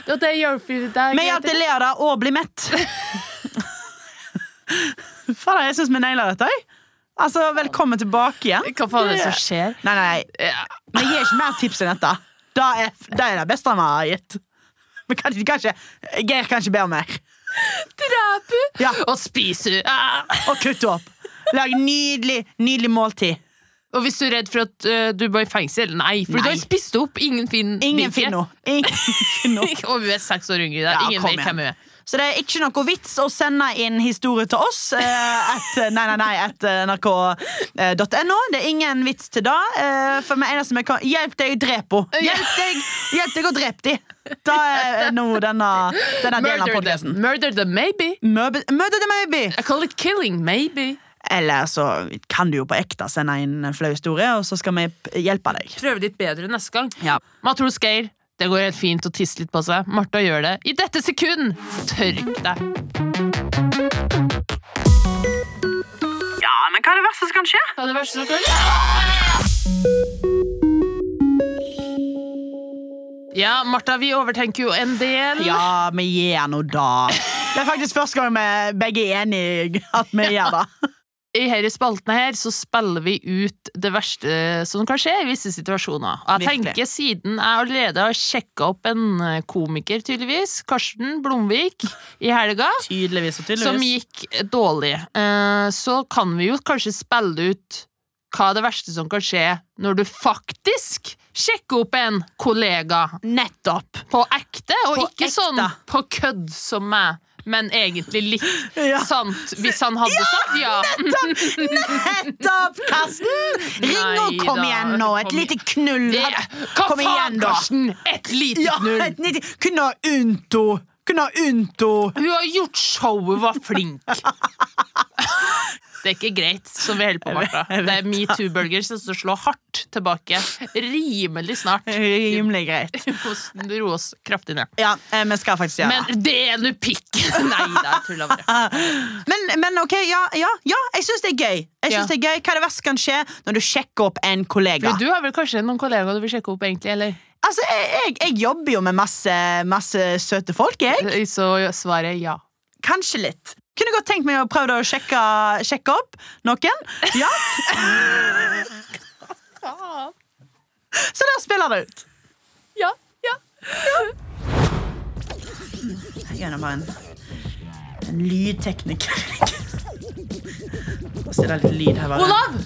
Speaker 1: og det hjelper jo deg.
Speaker 2: Vi hjalp til å le av det og bli mett. Fader, jeg syns vi naila dette. jeg. Altså, velkommen tilbake igjen.
Speaker 1: Hva faen er det som skjer?
Speaker 2: Nei, nei, nei.
Speaker 1: Ja.
Speaker 2: Vi gir ikke mer tips enn dette. Det er det, er det beste vi har gitt. Men kan, kan ikke, Geir kan ikke be om mer.
Speaker 1: Drep henne!
Speaker 2: Ja.
Speaker 1: Og spis henne! Ah.
Speaker 2: Og kutt opp. Lag nydelig, nydelig måltid.
Speaker 1: Og hvis du er redd for at eh, du bør i fengsel Nei, for du
Speaker 2: Nei.
Speaker 1: har spist opp. Ingen fin
Speaker 2: Ingen
Speaker 1: virke.
Speaker 2: finner henne. Ingen
Speaker 1: [LAUGHS]
Speaker 2: finner henne.
Speaker 1: Og hun er seks år yngre.
Speaker 2: Ja,
Speaker 1: Ja, Ingen
Speaker 2: kom
Speaker 1: vet
Speaker 2: igjen.
Speaker 1: hvem hun er.
Speaker 2: Så det er ikke noe vits å sende inn historie til oss. eh, at- nei, nei, nei, at eh, nrk.no. Det er ingen vits til det. eh, For det eneste vi kan Hjelp deg å drepe henne! Hjelp deg, hjelp deg å drepe dem! Da er eh, nå denne, denne delen av
Speaker 1: Murder
Speaker 2: podkasten.
Speaker 1: them. Murder them, maybe.
Speaker 2: Murder the maybe!
Speaker 1: I call it killing, maybe.
Speaker 2: Eller så kan du jo på ekte sende inn en flau historie, og så skal vi p- hjelpe deg.
Speaker 1: Prøve litt bedre neste gang.
Speaker 2: Ja.
Speaker 1: Matros Geir, det går helt fint å tisse litt på seg. Martha gjør det i dette sekund! Tørk deg.
Speaker 2: ja, men hva er det verste som kan skje?
Speaker 1: Ja, det verste som kan Ja, Martha, vi overtenker jo en del.
Speaker 2: Ja, vi gjør nå da. Det er faktisk første gang vi begge er enige at vi gjør det.
Speaker 1: [LAUGHS] I her i spaltene her så spiller vi ut det verste som kan skje i visse situasjoner. Og jeg
Speaker 2: Virkelig.
Speaker 1: tenker Siden jeg allerede har sjekka opp en eh, komiker, tydeligvis, Karsten Blomvik, i helga,
Speaker 2: Tydeligvis og
Speaker 1: som gikk dårlig, eh, så kan vi jo kanskje spille ut hva det verste som kan skje når du faktisk sjekker opp en kollega
Speaker 2: Nettopp.
Speaker 1: på ekte, og
Speaker 2: På
Speaker 1: ikke
Speaker 2: ekte.
Speaker 1: sånn på kødd som meg, men egentlig litt
Speaker 2: [LAUGHS] Ja.
Speaker 1: sant, hvis han hadde sagt ja.
Speaker 2: Nettopp, Karsten! Ring og
Speaker 1: Nei
Speaker 2: kom
Speaker 1: da,
Speaker 2: igjen nå. Et
Speaker 1: kom
Speaker 2: lite knull.
Speaker 1: Det, hva
Speaker 2: Kom
Speaker 1: faen,
Speaker 2: igjen, da.
Speaker 1: Karsten? Et lite
Speaker 2: Ja,
Speaker 1: null.
Speaker 2: et nitti- Kunne ha unto. Kunne ha unto.
Speaker 1: Hun har gjort showet, var
Speaker 2: [LAUGHS]
Speaker 1: flink. Det er ikke greit, som vi holder på med. Martha. Det er metoo-bølger som slår hardt tilbake rimelig snart.
Speaker 2: Rimelig greit.
Speaker 1: Vi må roe oss kraftig ned.
Speaker 2: Ja, eh, vi skal faktisk gjøre det. Ah.
Speaker 1: Men det er nå pikk! [LAUGHS] Nei da, jeg tuller bare.
Speaker 2: Men, men ok, ja, ja, ja jeg syns det er gøy. Jeg synes
Speaker 1: Ja.
Speaker 2: det er gøy. Hva er det verste kan skje når du sjekker opp en kollega?
Speaker 1: Du har vel kanskje noen kollegaer du vil sjekke opp, egentlig? Eller?
Speaker 2: Altså, jeg, jeg, jeg jobber jo med masse, masse søte folk, jeg.
Speaker 1: Så svaret er ja.
Speaker 2: Kanskje litt. Kunne godt tenkt meg å prøve å sjekke, sjekke opp noen. Ja, Så der spiller det ut.
Speaker 1: Ja, ja.
Speaker 2: Jeg er nå bare en, en lydtekniker. Så det er litt lyd her, bare.
Speaker 1: Olav!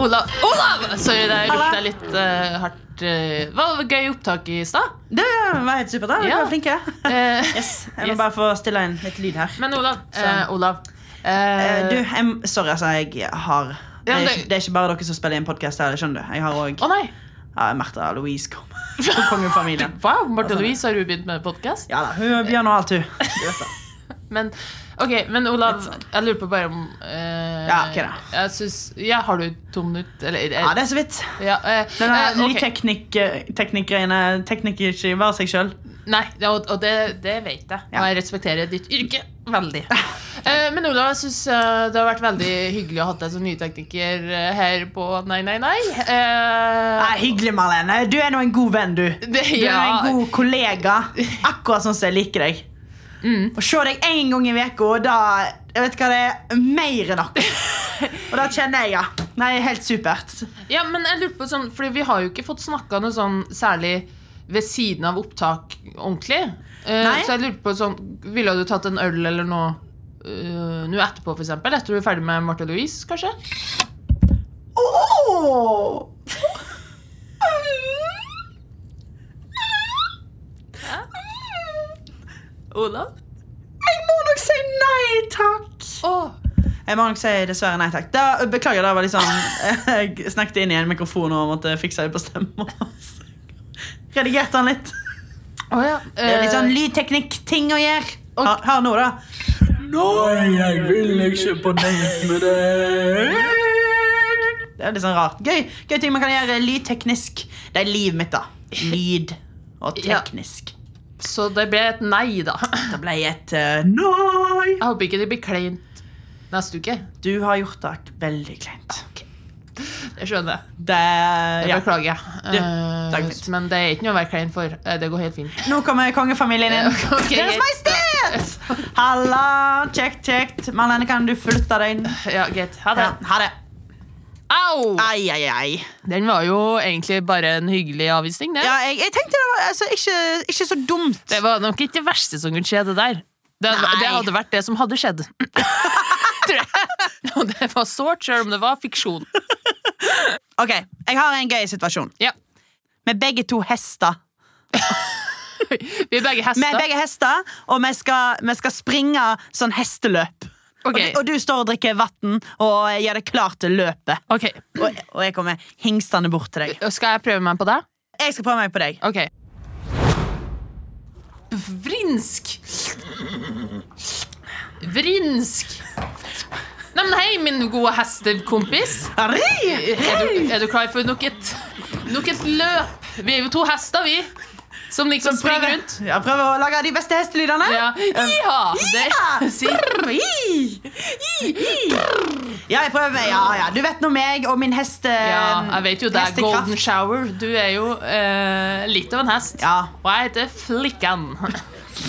Speaker 1: Olav! Olav! Sorry, der ropte jeg litt eh, hardt. eh, Hva var gøy opptak i
Speaker 2: [LAUGHS]
Speaker 1: stad?
Speaker 2: Det var helt supert. da. Dere
Speaker 1: Ja.
Speaker 2: var flinke.
Speaker 1: Eh,
Speaker 2: Yes. Jeg må
Speaker 1: Yes.
Speaker 2: bare få stille inn litt lyd her.
Speaker 1: Men Olav, eh, Olav eh,
Speaker 2: Eh, du, jeg, sorry, altså, jeg har det
Speaker 1: Ja,
Speaker 2: er,
Speaker 1: men
Speaker 2: ikke,
Speaker 1: det-
Speaker 2: det er ikke bare dere som spiller inn podkast her. skjønner du Jeg har også
Speaker 1: Å nei!
Speaker 2: ja, Märtha Louise kom. Hun kom jo i familien.
Speaker 1: Wow, Marte Louise, har du begynt med podkast?
Speaker 2: Ja da, hun og Bjørn og alt, hun. Du vet det.
Speaker 1: Men, ok, men Olav, jeg lurer på bare om eh,
Speaker 2: sånn. Ja, ok da.
Speaker 1: Jeg syns Ja, har du to minutter? Eller
Speaker 2: Ja,
Speaker 1: er
Speaker 2: det er så vidt.
Speaker 1: ja, eh,
Speaker 2: Den
Speaker 1: eh, ok.
Speaker 2: lydteknikk-greiene eh, Teknikk er ikke bare seg sjøl.
Speaker 1: Nei, ja, og, og det, det vet jeg.
Speaker 2: Ja.
Speaker 1: Og jeg respekterer ditt yrke veldig.
Speaker 2: [LAUGHS]
Speaker 1: Eh, men Olav, jeg syns det har vært veldig hyggelig å ha deg som nytekniker eh, her på Nei, nei, nei. Eh,
Speaker 2: Hyggelig, Marlene. Du er nå en god venn, du.
Speaker 1: det,
Speaker 2: Du er
Speaker 1: ja.
Speaker 2: nå en god kollega. Akkurat sånn som jeg liker deg. Å se deg én gang i uka, da jeg vet hva, det er mer enn nok. Og da kjenner jeg ja. Nei, helt supert.
Speaker 1: Ja, men jeg lurte på sånn Fordi vi har jo ikke fått snakka noe sånn særlig ved siden av opptak ordentlig. Eh,
Speaker 2: Nei.
Speaker 1: så jeg lurte på sånn Ville du tatt en øl eller noe eh, nå etterpå, for eksempel? Etter du er ferdig med Marte Louise, kanskje?
Speaker 2: Åh!
Speaker 4: Olav?
Speaker 2: Jeg må nok si nei takk.
Speaker 1: Åh,
Speaker 2: Jeg må nok si dessverre nei takk. Da, beklager, det var litt [LAUGHS] sånn Jeg snakket inn i en mikrofon og måtte fikse det på stemmen. Redigerte han litt.
Speaker 1: Å ja.
Speaker 2: Det er
Speaker 1: eh,
Speaker 2: litt sånn lydteknikk-ting å gjøre.
Speaker 1: Og-
Speaker 2: Hør, hør nå, da.
Speaker 4: Nei, jeg vil ikke på date med deg.
Speaker 2: Det er litt sånn rart. Gøy, gøy ting man kan gjøre lydteknisk. Det er livet mitt, da. Lyd og
Speaker 1: Ja.
Speaker 2: teknisk.
Speaker 1: Så det ble et nei, da. [LAUGHS]
Speaker 2: Det ble et eh, nei.
Speaker 1: Jeg håper ikke det blir kleint neste uke.
Speaker 2: Du har gjort det veldig kleint.
Speaker 1: Det skjønner jeg.
Speaker 2: Det,
Speaker 1: Det
Speaker 2: ja.
Speaker 1: beklager jeg.
Speaker 2: det er
Speaker 1: Eh,
Speaker 2: fint.
Speaker 1: men det er ikke noe å være klein for. Eh, Det går helt fint.
Speaker 2: Nå kommer kongefamilien inn.
Speaker 1: Ja, ok,
Speaker 2: Deres
Speaker 1: greit.
Speaker 2: Majestet! Halla! Kjekt, kjekt. Marlene, kan du flytte deg inn?
Speaker 1: Ja, greit. Ha det.
Speaker 2: Ja, ha det.
Speaker 1: Au!
Speaker 2: Ai, ai, ai.
Speaker 1: Den var jo egentlig bare en hyggelig avvisning, det.
Speaker 2: Ja, jeg, jeg tenkte det var altså, ikke, ikke så dumt.
Speaker 1: Det var nok ikke det verste som kunne skje, det der. Det,
Speaker 2: Nei.
Speaker 1: det hadde vært det som hadde
Speaker 2: [LAUGHS]
Speaker 1: skjedd. Tror jeg. Og det var sårt, selv om det var fiksjon.
Speaker 2: Ok, Jeg har en gøy situasjon.
Speaker 1: Ja.
Speaker 2: Med begge to hester.
Speaker 1: Vi er begge
Speaker 2: Vi er
Speaker 1: hester.
Speaker 2: begge hester, og vi skal, vi skal springe sånn hesteløp.
Speaker 1: Ok.
Speaker 2: Og, du, og du står og drikker vann og gjør deg klar til løpet.
Speaker 1: Ok,
Speaker 2: Og, og jeg kommer hingstende bort til deg.
Speaker 1: og Skal jeg prøve meg på det?
Speaker 2: Jeg skal prøve meg på deg.
Speaker 1: Ok. Vrinsk. Vrinsk. Nei, men hei, min gode hestekompis.
Speaker 2: Arri!
Speaker 1: Er du, er du klar for nok et, nok et løp? Vi er jo to hester, vi. Som liksom springer
Speaker 2: Prøver-
Speaker 1: rundt.
Speaker 2: Ja, prøver å lage de beste hestelydene.
Speaker 1: Ja. Iha!
Speaker 2: [LAUGHS]
Speaker 1: Det, si.
Speaker 2: Hi! Hi! Ja, jeg prøver. Ja, ja. Du vet nå meg og min heste...
Speaker 1: ja, jeg vet jo det er
Speaker 2: hestekraft.
Speaker 1: golden shower. Du er jo eh, litt av en hest.
Speaker 2: Ja.
Speaker 1: Og jeg heter Flikkan.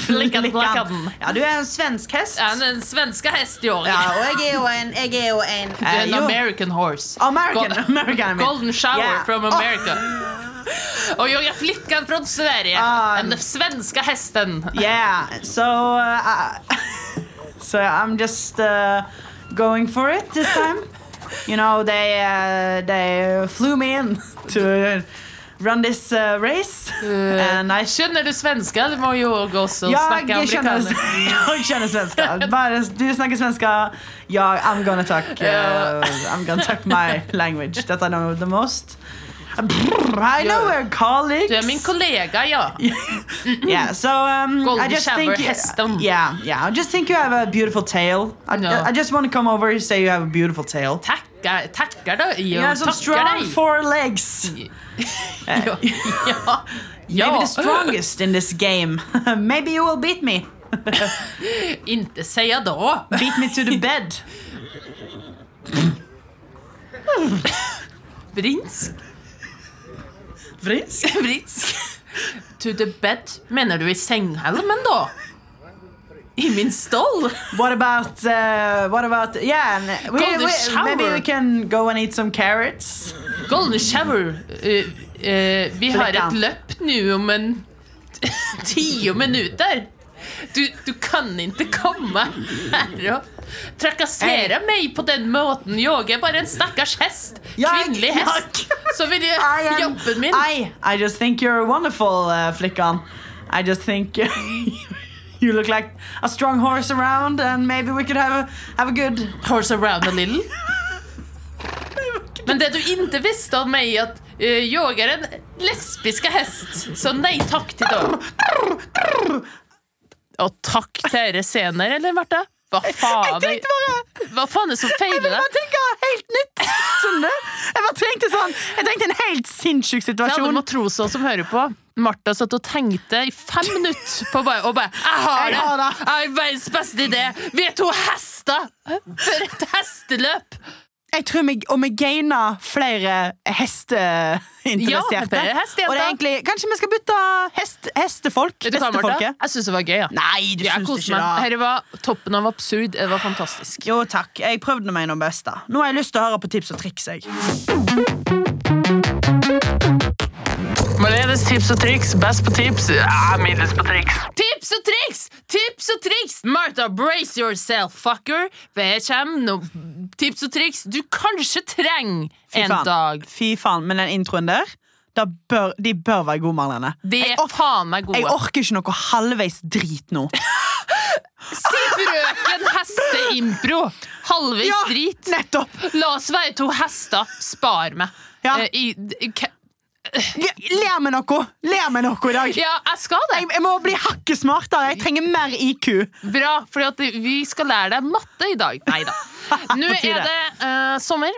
Speaker 1: Flikkan Blakkan.
Speaker 2: Ja, du er en svensk hest.
Speaker 1: Jeg er en svenske hest i år.
Speaker 2: Ja, og jeg er jo en... Jeg er jo en...
Speaker 1: Du er
Speaker 2: eh,
Speaker 1: en
Speaker 2: jo.
Speaker 1: American horse.
Speaker 2: American,
Speaker 1: Gol-
Speaker 2: American, I mean.
Speaker 1: Golden shower
Speaker 2: Yeah. Ah.
Speaker 1: from
Speaker 2: Åh.
Speaker 1: America. Och jag är flickan från Sverige.
Speaker 2: Ah.
Speaker 1: Den svenska hästen.
Speaker 2: Yeah, so uh, [LAUGHS] so I'm just uh, going for it this time. You know, they uh, they flew me in [LAUGHS] to run this uh, race, and I should.
Speaker 1: Känner Eh, du svenska? Du må ju också
Speaker 2: Jag,
Speaker 1: snacka
Speaker 2: jag, känner,
Speaker 1: amerikaner.
Speaker 2: [LAUGHS] jag känner svenska. Bara, du snackar svenska. Jag, I'm gonna talk. Uh, I'm gonna talk my
Speaker 1: [LAUGHS]
Speaker 2: language that I know the most. I know we're colleagues.
Speaker 1: Du är min kollega, ja.
Speaker 2: yeah, so um, I
Speaker 1: Golden
Speaker 2: just
Speaker 1: shower
Speaker 2: think
Speaker 1: Heston.
Speaker 2: yeah, yeah. I just think you have a beautiful tail. I,
Speaker 1: No.
Speaker 2: I just want to come over and say you have a beautiful tail.
Speaker 1: Tackar, tackar dig.
Speaker 2: You have some strong four legs. [LAUGHS]
Speaker 1: Ja, ja.
Speaker 2: Maybe
Speaker 1: ja.
Speaker 2: the strongest in this game. [LAUGHS] Maybe you will beat me.
Speaker 1: inte säga då.
Speaker 2: Beat me to
Speaker 1: [LAUGHS]
Speaker 2: the bed.
Speaker 1: Vrinsk.
Speaker 2: Vris?
Speaker 1: Vritsk. To the bed. Menar du i sänghalmen då? I min stall?
Speaker 2: What about uh, what about yeah? And we,
Speaker 1: Golden
Speaker 2: we-
Speaker 1: shower.
Speaker 2: maybe we can go and eat some carrots.
Speaker 1: Golden shower. Eh, eh, vi har
Speaker 2: Flickan.
Speaker 1: et løp nå om en [LAUGHS] ti minutter. Du, du kan ikke komme her og trakassere meg på den måten. Jeg er bare en stakkars hest.
Speaker 2: Jeg-
Speaker 1: Kvinnelig hest. Så vil jeg
Speaker 2: I am-
Speaker 1: jobben min.
Speaker 2: I, I just think you're wonderful, uh, Flickan. I just think [LAUGHS] you look like a strong horse around, and maybe we could have a have a good.
Speaker 1: Horse around a little. Men det du ikke visste om meg, at eh, jeg er en lesbisk hest. Så nei takk til deg. Og takk til dere senere, eller, Marte? Hva faen,
Speaker 2: Jeg tenkte bare
Speaker 1: hva faen er det som
Speaker 2: Jeg
Speaker 1: feiler
Speaker 2: ville bare
Speaker 1: deg?
Speaker 2: tenke helt nytt. Skjønner du? Jeg bare trengte sånn Jeg trengte en helt sinnssyk
Speaker 1: Det er alle
Speaker 2: situasjon.
Speaker 1: matroser som hører på. Martha satt og tenkte i fem minutter på bare, og bare 'Jeg har
Speaker 2: Jeg
Speaker 1: det!
Speaker 2: har det.
Speaker 1: Jeg har verdens beste idé! Vi er to hester! For et hesteløp!'
Speaker 2: jeg tror vi, og vi gainer flere
Speaker 1: Ja,
Speaker 2: hesteinteresserte.
Speaker 1: flere hestejenter.
Speaker 2: og det er egentlig, kanskje vi skal bytte hest, hestefolk?
Speaker 1: Vet du hva, Martha?
Speaker 2: Hestefolket?
Speaker 1: Jeg syns det var gøy. Ja.
Speaker 2: Nei, du
Speaker 1: Jeg
Speaker 2: syns det
Speaker 1: koste meg.
Speaker 2: ikke da.
Speaker 1: Dette var toppen av absurd. Det var fantastisk.
Speaker 2: Jo takk, jeg prøvde meg noe best da. Nå har jeg lyst til å høre på tips og triks. Jeg.
Speaker 1: Marlenes tips og triks. Best på tips. middels på triks. Tips og triks! Tips og triks! Martha, brace yourself, fucker. Her kommer noen tips og triks du kanskje trenger
Speaker 2: Fy
Speaker 1: en
Speaker 2: faen.
Speaker 1: dag.
Speaker 2: Fy faen, men den introen der, da bør, de bør være gode, Marlene.
Speaker 1: De
Speaker 2: Jeg
Speaker 1: er
Speaker 2: ork-
Speaker 1: faen meg
Speaker 2: Jeg
Speaker 1: gode.
Speaker 2: orker ikke noe halvveis drit
Speaker 1: [LAUGHS]
Speaker 2: nå.
Speaker 1: Si frøken hesteimpro. Halvveis
Speaker 2: Ja,
Speaker 1: drit.
Speaker 2: nettopp.
Speaker 1: La oss være to hester. Spar meg.
Speaker 2: Ja.
Speaker 1: Eh, i, i, ke-
Speaker 2: Ler med noe. Ler med noe i dag.
Speaker 1: ja, jeg skal det.
Speaker 2: Jeg, jeg må bli hakket smartere. Jeg trenger mer IQ.
Speaker 1: Bra, for vi skal lære deg matte i dag. Nei da. [LAUGHS] Nå
Speaker 2: På tide.
Speaker 1: er det eh, sommer.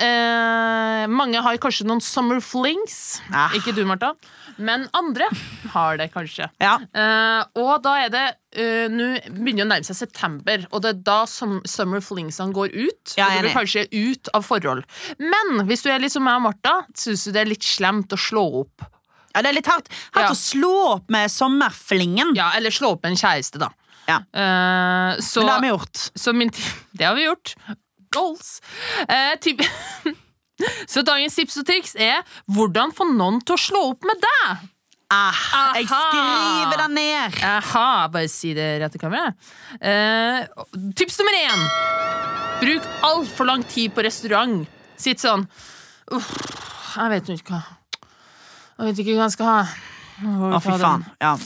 Speaker 1: Eh, mange har kanskje noen summer flings.
Speaker 2: Ah.
Speaker 1: Ikke du, Martha. Men andre har det kanskje.
Speaker 2: Ja.
Speaker 1: Eh, og da er det eh, Nå begynner det å nærme seg september, og det er da som summer flingsene går ut.
Speaker 2: Ja,
Speaker 1: og
Speaker 2: jeg
Speaker 1: du
Speaker 2: er
Speaker 1: blir kanskje ut av forhold. Men hvis du er litt som meg og Martha, syns du det er litt slemt å slå opp.
Speaker 2: Ja, det er litt hardt, hardt
Speaker 1: Ja.
Speaker 2: å slå opp med sommerflingen.
Speaker 1: Ja, Eller slå opp med en kjæreste, da.
Speaker 2: Ja.
Speaker 1: Eh, så
Speaker 2: Men det har vi gjort.
Speaker 1: Så min ti- [LAUGHS] Det har vi gjort. Goals! Eh, tip [LAUGHS] så dagens tips og triks er hvordan få noen til å slå opp med deg.
Speaker 2: Ah, jeg
Speaker 1: Aha.
Speaker 2: skriver den ned.
Speaker 1: Aha, bare si det rett til kameraet. Eh, tips nummer én. Bruk altfor lang tid på restaurant. Sitt sånn «Uff, Jeg vet jo ikke hva Jeg vet ikke hva jeg skal ha.
Speaker 2: Å, fy faen. Ja.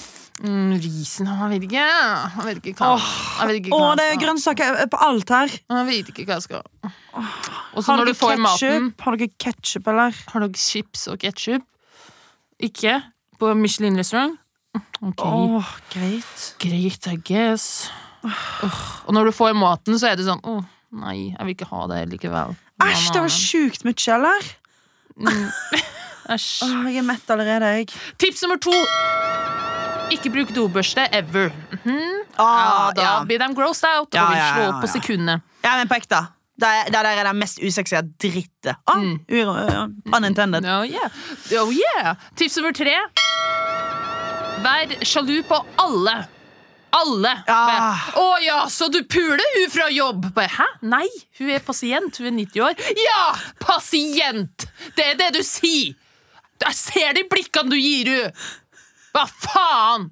Speaker 1: Mm, risen Jeg vet ikke. Jeg vet ikke hva jeg vet ikke
Speaker 2: Å,
Speaker 1: hva
Speaker 2: det
Speaker 1: jeg skal
Speaker 2: er
Speaker 1: ha.
Speaker 2: grønnsaker eh, på alt her.
Speaker 1: Jeg vet ikke hva jeg skal ha. Og så
Speaker 2: Har
Speaker 1: når
Speaker 2: dere
Speaker 1: du får maten
Speaker 2: ketchup? Har dere ketchup, eller?
Speaker 1: Har dere chips og ketchup? Ikke? På Michelin-restaurant? Ok,
Speaker 2: Åh, greit.
Speaker 1: greit, I guess. Åh, Og når du får maten, så er det sånn Å, nei, jeg vil ikke ha det likevel.
Speaker 2: Æsj, det var sjukt mye, eller?
Speaker 1: Æsj.
Speaker 2: Åh, jeg er mett allerede, jeg.
Speaker 1: Tips nummer to. Ikke bruk dobørste ever.
Speaker 2: Ah,
Speaker 1: da blir de grossed out og
Speaker 2: Ja,
Speaker 1: vil
Speaker 2: ja,
Speaker 1: slå
Speaker 2: ja,
Speaker 1: opp på
Speaker 2: ja.
Speaker 1: sekundet.
Speaker 2: Ja, men på ekte. Det er- det der er det mest usexy drittet. Ah, uro- uh, unintended.
Speaker 1: Oh yeah. oh yeah! Tips nummer tre. Vær sjalu på alle. Alle.
Speaker 2: Ah.
Speaker 1: Bare, Å ja, så du puler hun fra jobb? Bare, Hæ? Nei, hun er pasient. Hun er 90 år. Ja, pasient! Det er det du sier. Jeg ser de blikkene du gir hun. Hva faen?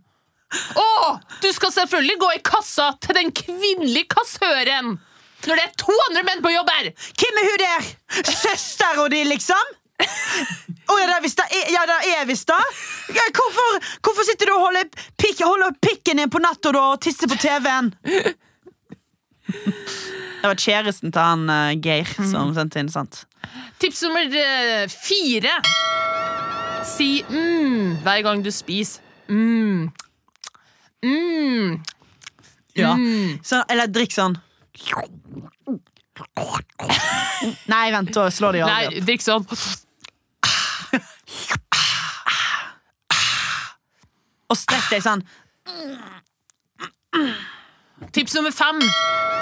Speaker 1: Å, du skal selvfølgelig gå i kassa til den kvinnelige kassøren! Når det er 200 menn på jobb her!
Speaker 2: Hvem er hun der? Søster og de, liksom? Å ja, det er visst det. Ja, det er visst det. Ja, hvorfor, hvorfor sitter du og holder, pikk, holder pikken din på natta da, og tisser på TV-en? Det var kjæresten til han eh, Geir som sendte inn, sant?
Speaker 1: Tips nummer eh, fire. Si mm hver gang du spiser. Mm. Mm.
Speaker 2: Ja. Mm. Så, eller drikk sånn. Nei, vent, da slår de aldri opp.
Speaker 1: Nei, drikk sånn.
Speaker 2: Og strekk deg sånn.
Speaker 1: Tips nummer fem.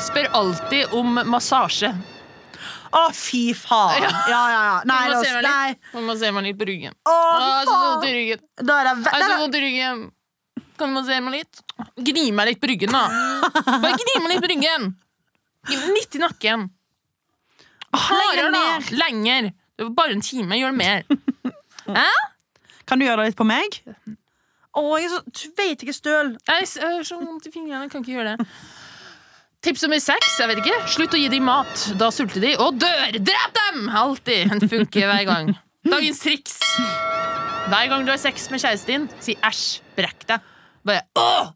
Speaker 1: Spør alltid om massasje.
Speaker 2: Å, fy faen! Ja, ja, ja. Nei,
Speaker 1: Man må
Speaker 2: la
Speaker 1: se
Speaker 2: oss
Speaker 1: meg
Speaker 2: Nei.
Speaker 1: litt, Man må se meg litt på ryggen. Å,
Speaker 2: Å, fy
Speaker 1: jeg er altså, så Altså, vondt i
Speaker 2: faen!
Speaker 1: ryggen.
Speaker 2: Da er det ve-
Speaker 1: Jeg er
Speaker 2: da
Speaker 1: så
Speaker 2: er det-
Speaker 1: vondt i ryggen. Kan du massere meg litt? Gni meg litt på ryggen, da. Bare gni meg litt på ryggen. Gni meg Litt i nakken. Hardere, da. Lenger. Det var bare en time. Gjør mer. Hæ?
Speaker 2: Kan du gjøre det litt på meg? Å, jeg er så, du vet ikke støl.
Speaker 1: Jeg s- jeg har så vondt i fingrene, jeg kan ikke gjøre det. Tips nummer seks, jeg vet ikke. Slutt å gi dem mat. Da sulter de og dør. Drep dem! Alltid. Den funker hver gang. Dagens triks. Hver gang du har sex med kjæresten din, si æsj. Brekk deg. Bare åh!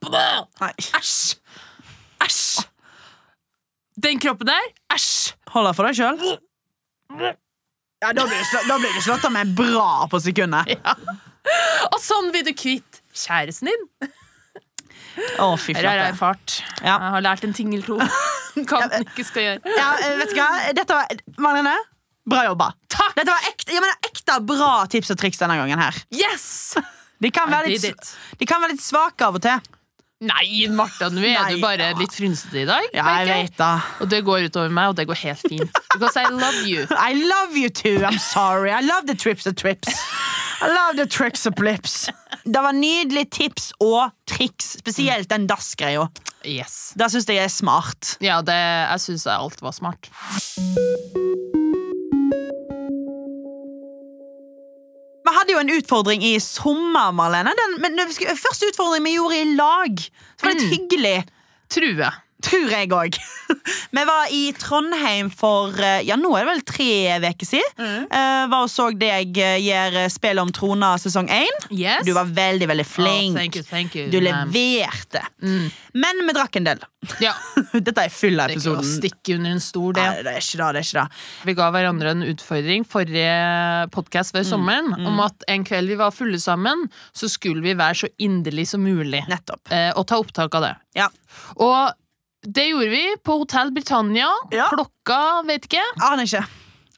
Speaker 1: Bæ!
Speaker 2: Nei.
Speaker 1: Æsj! Æsj! Den kroppen der, æsj!
Speaker 2: Hold det for deg sjøl. Ja, da blir du slå- da blir du slått av med bra på sekundet.
Speaker 1: Og sånn blir du kvitt kjæresten din.
Speaker 2: Å, fy
Speaker 1: Her har jeg
Speaker 2: flate.
Speaker 1: erfart.
Speaker 2: Ja.
Speaker 1: Jeg har lært en ting eller to.
Speaker 2: [LAUGHS]
Speaker 1: Hva man ikke skal gjøre.
Speaker 2: Ja, eh, vet du hva? Dette var Marlene, bra jobba.
Speaker 1: Takk!
Speaker 2: Dette var ekte, jeg mener, ekte bra tips og triks denne gangen her.
Speaker 1: Yes!
Speaker 2: De kan,
Speaker 1: I
Speaker 2: være litt,
Speaker 1: did it.
Speaker 2: de kan være litt svake av og til.
Speaker 1: Nei, Martha, nå er
Speaker 2: Nei,
Speaker 1: du bare
Speaker 2: ja.
Speaker 1: litt frynsete i dag.
Speaker 2: Ja, jeg
Speaker 1: tenker
Speaker 2: vet da.
Speaker 1: Og det går utover meg, og det går helt fint. Because I love you.
Speaker 2: I love you too. I'm sorry. I love the trips and trips. I love the tricks and blips. Det var nydelige tips og triks, spesielt den dass-greia.
Speaker 1: Yes.
Speaker 2: Det syns jeg er smart.
Speaker 1: Ja, det, jeg syns alt var smart.
Speaker 2: Vi hadde jo en utfordring i sommer, Marlene. Den, men den sk- første utfordring vi gjorde i lag. Det var litt
Speaker 1: Mm.
Speaker 2: hyggelig.
Speaker 1: Tror jeg.
Speaker 2: Tror jeg òg. [LAUGHS] vi var i Trondheim for eh, ja, nå er det vel tre uker siden.
Speaker 1: Mm.
Speaker 2: Eh, var og så deg eh, gjøre Spillet om trona sesong én.
Speaker 1: Yes.
Speaker 2: Du var veldig, veldig flink.
Speaker 1: Oh, thank you, thank you,
Speaker 2: du
Speaker 1: ma'am.
Speaker 2: leverte. Men vi drakk en del. [LAUGHS]
Speaker 1: Ja.
Speaker 2: Dette er full av
Speaker 1: Mm. Det er ikke å
Speaker 2: episoden.
Speaker 1: stikke under en stol, det.
Speaker 2: Nei, det er ikke det. det er ikke det.
Speaker 1: Vi ga hverandre en utfordring forrige podkast
Speaker 2: Mm,
Speaker 1: før sommeren om at en kveld vi var fulle sammen, så skulle vi være så inderlig som mulig
Speaker 2: Nettopp.
Speaker 1: eh, og ta opptak av det.
Speaker 2: Ja.
Speaker 1: Og det gjorde vi på Hotell Britannia.
Speaker 2: Ja.
Speaker 1: Klokka vet ikke.
Speaker 2: Aner ikke.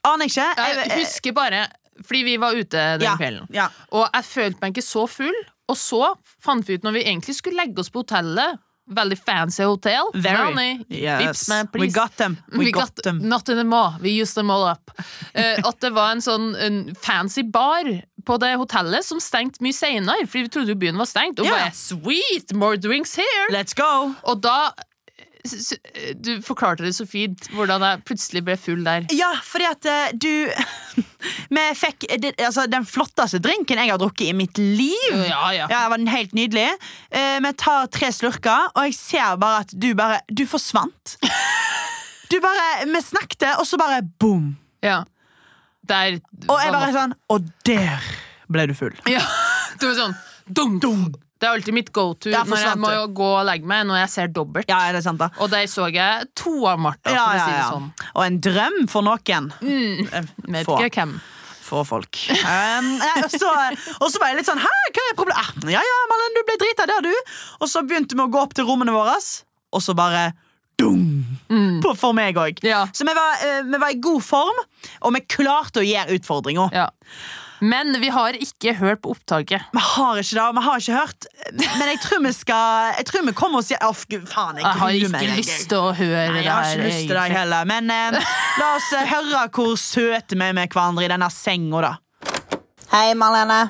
Speaker 2: Aner ikke.
Speaker 1: Jeg husker bare fordi vi var ute den
Speaker 2: ja,
Speaker 1: kvelden.
Speaker 2: ja.
Speaker 1: Og jeg følte meg ikke så full. Og så fant vi ut når vi egentlig skulle legge oss på hotellet Veldig fancy hotell.
Speaker 2: Very.
Speaker 1: Ronny, vips
Speaker 2: Yes.
Speaker 1: meg,
Speaker 2: We
Speaker 1: please.
Speaker 2: got them.
Speaker 1: [LAUGHS]
Speaker 2: We,
Speaker 1: We
Speaker 2: got, them.
Speaker 1: Not in them all. We used them all up. Eh, at det var en sånn en fancy bar på det hotellet som stengte mye senere, fordi vi trodde jo byen var stengt. Og
Speaker 2: Ja.
Speaker 1: bare sweet, more drinks here!
Speaker 2: Let's go.
Speaker 1: Og da s- s- Du forklarte det så fint hvordan jeg plutselig ble full der.
Speaker 2: Ja, fordi at eh, du [LAUGHS] Vi fikk eh, det- altså, den flotteste drinken jeg har drukket i mitt liv.
Speaker 1: Ja, ja.
Speaker 2: Ja, det var den helt nydelig. Eh, vi tar tre slurker, og jeg ser bare at du bare Du
Speaker 1: [LAUGHS]
Speaker 2: forsvant. Du bare, Vi snakket, og så bare boom.
Speaker 1: ja. Der
Speaker 2: Og jeg
Speaker 1: var
Speaker 2: bare sånn Og der ble du full.
Speaker 1: [LAUGHS] Ja, det var sånn dum, dum. Det er alltid mitt go-to
Speaker 2: Ja,
Speaker 1: når jeg
Speaker 2: forsvant
Speaker 1: må
Speaker 2: det.
Speaker 1: jo gå og legge meg når jeg ser dobbelt.
Speaker 2: Ja, er det sant, da?
Speaker 1: Og der så jeg to av Martha, for å
Speaker 2: Ja, ja,
Speaker 1: si det
Speaker 2: ja. Mm.
Speaker 1: sånn.
Speaker 2: Og en drøm for noen. Eh, [LAUGHS]
Speaker 1: Jeg Vet
Speaker 2: Få.
Speaker 1: ikke hvem.
Speaker 2: For folk. Um, nei, og, så, og så var jeg litt sånn Hæ, hva er problemet? Ah, ja ja, Marlen, du ble drita der, du. Og så begynte vi å gå opp til rommene våre, og så bare dung! På, for meg òg.
Speaker 1: Ja.
Speaker 2: Så vi var, eh, vi var i god form, og vi klarte å gjøre utfordringa.
Speaker 1: Ja. Men vi har ikke hørt på opptaket.
Speaker 2: Vi har ikke det, og vi har ikke hørt, men jeg tror vi skal Jeg tror vi kommer oss i Åh, gud, faen, jeg
Speaker 1: Jeg har
Speaker 2: gruer meg,
Speaker 1: ikke
Speaker 2: jeg.
Speaker 1: lyst til å høre
Speaker 2: Nei,
Speaker 1: det
Speaker 2: jeg har
Speaker 1: her.
Speaker 2: ikke lyst til det
Speaker 1: egentlig.
Speaker 2: heller. Men eh, la oss eh, høre hvor søte vi er med hverandre i denne senga, da.
Speaker 5: Hei, Marlene.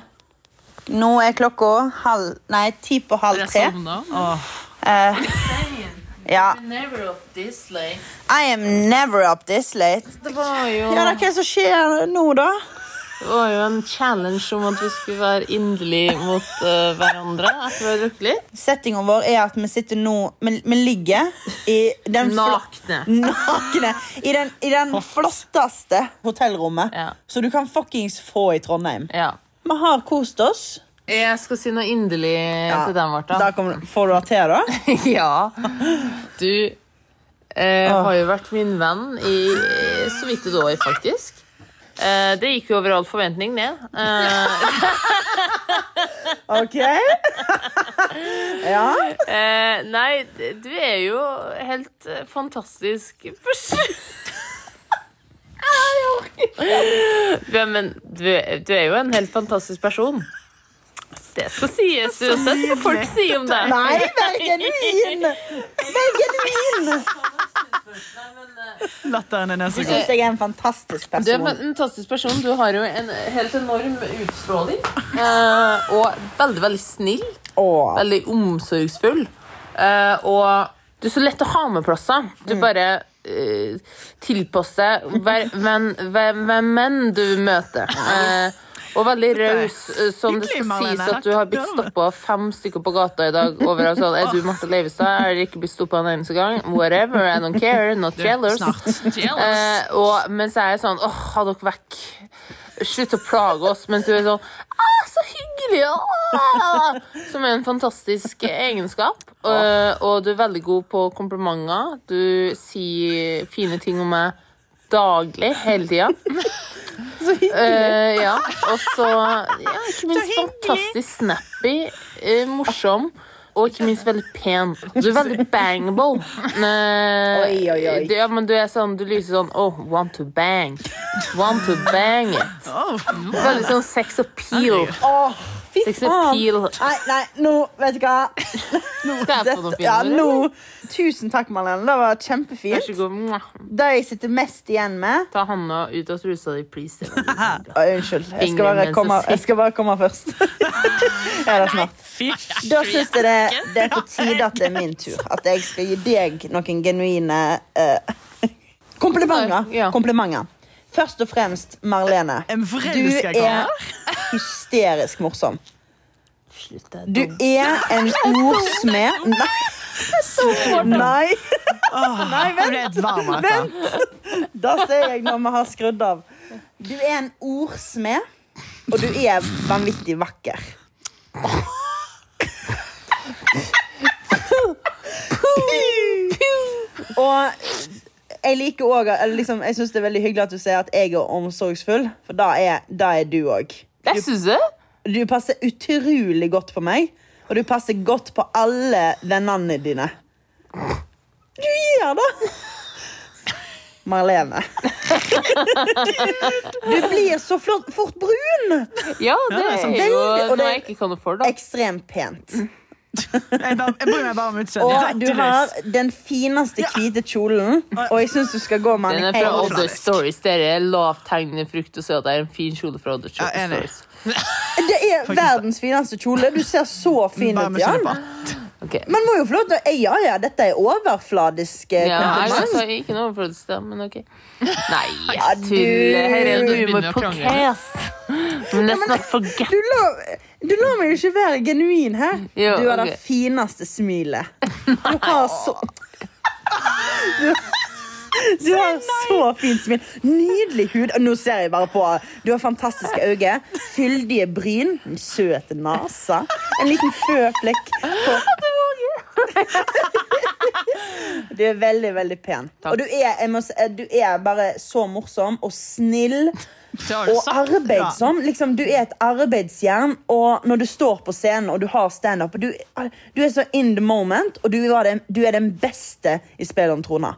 Speaker 5: Nå er klokka halv Nei, ti på halv
Speaker 1: Jeg
Speaker 5: tre.
Speaker 1: sovna.
Speaker 5: Eh, ja. I am never up this late.
Speaker 1: Det var jo,
Speaker 5: Ja, da, hva er det som skjer nå, da?
Speaker 1: det var jo en challenge om at vi skulle være inderlige mot eh, hverandre etter vi har drukket litt.
Speaker 5: Settinga vår er at vi sitter nå Vi, vi ligger i den fl-
Speaker 1: Nakne.
Speaker 5: Nakne. I den, i den flotteste hotellrommet
Speaker 1: Ja.
Speaker 5: som du kan fuckings få i Trondheim.
Speaker 1: Ja.
Speaker 5: Vi har kost oss.
Speaker 1: Jeg skal si noe inderlig til deg, Martha.
Speaker 5: Da kommer, får du det til, da?
Speaker 1: [LAUGHS] Ja. Du eh, har jo vært min venn i eh, så vidt et år, faktisk. Eh, det gikk jo over all forventning, det. Eh,
Speaker 5: OK? ja.
Speaker 1: eh, nei, d- du er jo helt eh, fantastisk [LAUGHS] Du er, men du, er- du er jo en helt fantastisk person. Det skal sies uansett hva folk sier om deg.
Speaker 5: Nei, velgenuin! Velgenuin!
Speaker 2: Latteren er nesten
Speaker 5: Jeg syns jeg er en fantastisk
Speaker 1: Du er en
Speaker 5: person.
Speaker 1: fantastisk person. Du har jo en helt enorm [LAUGHS] utstråling. eh, og veldig, veldig snill.
Speaker 5: Åh.
Speaker 1: Veldig omsorgsfull. Eh, og du er så lett å ha med plasser. Du bare eh, tilpasser [LAUGHS] hver hvem, hvem, hvem menn du møter. Eh, og veldig raus, eh, som det skal
Speaker 2: Hyggelig,
Speaker 1: sies
Speaker 2: Marlene.
Speaker 1: at du har blitt stoppa fem stykker på gata i dag. Overalt sånn Er du Marte Leivestad? Jeg har ikke blitt stoppa en eneste gang. Whatever, I don't care. Not jealous. Eh, og mens jeg er sånn åh, ha dere vekk. Slutt å plage oss. Mens du er sånn ah, så hyggelig! Ah! Som er en fantastisk egenskap. Eh, og du er veldig god på komplimenter. Du sier fine ting om meg daglig, hele tida. Eh, ja. Og så ja, ikke minst fantastisk snappy, eh, morsom. Og ikke minst veldig pen. Du er veldig bangable. Eh,
Speaker 5: Oi, oi, oi.
Speaker 1: du- Ja, men du er sånn, du lyser sånn Oh, want to
Speaker 5: Oh.
Speaker 1: bang. Want to bang it. Veldig sånn sex appeal.
Speaker 5: Åh, Fy
Speaker 6: Sex appeal.
Speaker 5: Nei, nei, nå, vet du hva.
Speaker 1: [LAUGHS]
Speaker 5: Nå,
Speaker 1: Skal jeg få noe
Speaker 5: dette, ja,
Speaker 1: finere,
Speaker 5: nå. Tusen takk, Marlene. Det
Speaker 1: Vær
Speaker 5: var
Speaker 1: så
Speaker 5: kjempefint.
Speaker 1: god. Mwah.
Speaker 5: Det jeg sitter mest igjen med
Speaker 1: Ta Hanna ut av trusa di, please.
Speaker 5: Å, Unnskyld. Jeg skal,
Speaker 1: Fingeren
Speaker 5: bare
Speaker 1: mens
Speaker 5: komme,
Speaker 1: jeg
Speaker 5: jeg skal bare komme først. [LAUGHS] Ja, det er snart. Da syns jeg det, det er på tide at det er min tur. At jeg skal gi deg noen genuine eh, [LAUGHS] komplimenter.
Speaker 1: Ja.
Speaker 5: komplimenter. Først og fremst, Marlene.
Speaker 2: En
Speaker 5: Du
Speaker 2: forelska
Speaker 5: er hysterisk morsom.
Speaker 1: Slutt, det er
Speaker 5: Du
Speaker 1: dumt.
Speaker 5: er en ordsmed Nei. Nei,
Speaker 2: Vent, vent.
Speaker 5: da sier jeg når vi har skrudd av. Du er en ordsmed, og du er vanvittig vakker. Og jeg liker òg liksom, Jeg syns det er veldig hyggelig at du sier at jeg er omsorgsfull, for da er, da er du òg.
Speaker 1: Jeg syns det.
Speaker 5: Du passer utrolig godt på meg, og du passer godt på alle vennene dine. Du gjør det!
Speaker 1: [LAUGHS]
Speaker 5: Marlene. Du blir så flott, fort brun!
Speaker 1: Ja, det
Speaker 2: det er sant.
Speaker 1: er jo
Speaker 5: Veldig, sånn og
Speaker 1: noe
Speaker 5: det-
Speaker 1: jeg ikke kan afford, da.
Speaker 5: Ekstremt pent.
Speaker 2: Jeg bare- jeg bryr meg bare om
Speaker 5: Og du har
Speaker 2: utseendet.
Speaker 5: den fineste hvite kjolen, og jeg syns du skal gå med
Speaker 1: Den
Speaker 5: den
Speaker 1: er fra
Speaker 5: helt
Speaker 1: Other Stories. Dere er lavthengende frukt og se at det er en fin kjole fra Other
Speaker 2: Ja, enig.
Speaker 1: Stories.
Speaker 5: Det er verdens fineste kjole. Du ser så fin
Speaker 2: Bare
Speaker 5: ut, Jan.
Speaker 2: misunnelig på.
Speaker 1: Ok.
Speaker 5: Man må jo få lov til å Ja ja, dette er overfladisk eh,
Speaker 1: Ja, jeg
Speaker 5: kompliment.
Speaker 1: altså, ikke noe overflødighet, da, men
Speaker 5: [LAUGHS]
Speaker 1: ok. Nei,
Speaker 5: Ja,
Speaker 1: jeg
Speaker 5: du-
Speaker 1: tuller. Her er
Speaker 5: Du
Speaker 1: det begynner humor å på krangle.
Speaker 6: Yes.
Speaker 1: Men let's not forget.
Speaker 5: [LAUGHS] Du la, du la meg jo ikke være genuin her.
Speaker 1: Jo,
Speaker 5: du har
Speaker 1: ok.
Speaker 5: det
Speaker 1: [LAUGHS]
Speaker 5: fineste smilet. Du har så Du, du har så fint smil. Nydelig hud. Og Nå ser jeg bare på. Du har fantastiske øyne. Fyldige bryn. En søt nese. En liten føflekk
Speaker 1: [LAUGHS]
Speaker 5: på Du er veldig, veldig pen. Og du er, jeg må, si, du er bare så morsom og snill.
Speaker 2: Det har du
Speaker 5: Og
Speaker 2: sagt.
Speaker 5: arbeidsom. Liksom, du er et arbeidsjern, og når du står på scenen og du har standup og du, du er så in the moment, og du, var den, du er den beste i Spel om trona.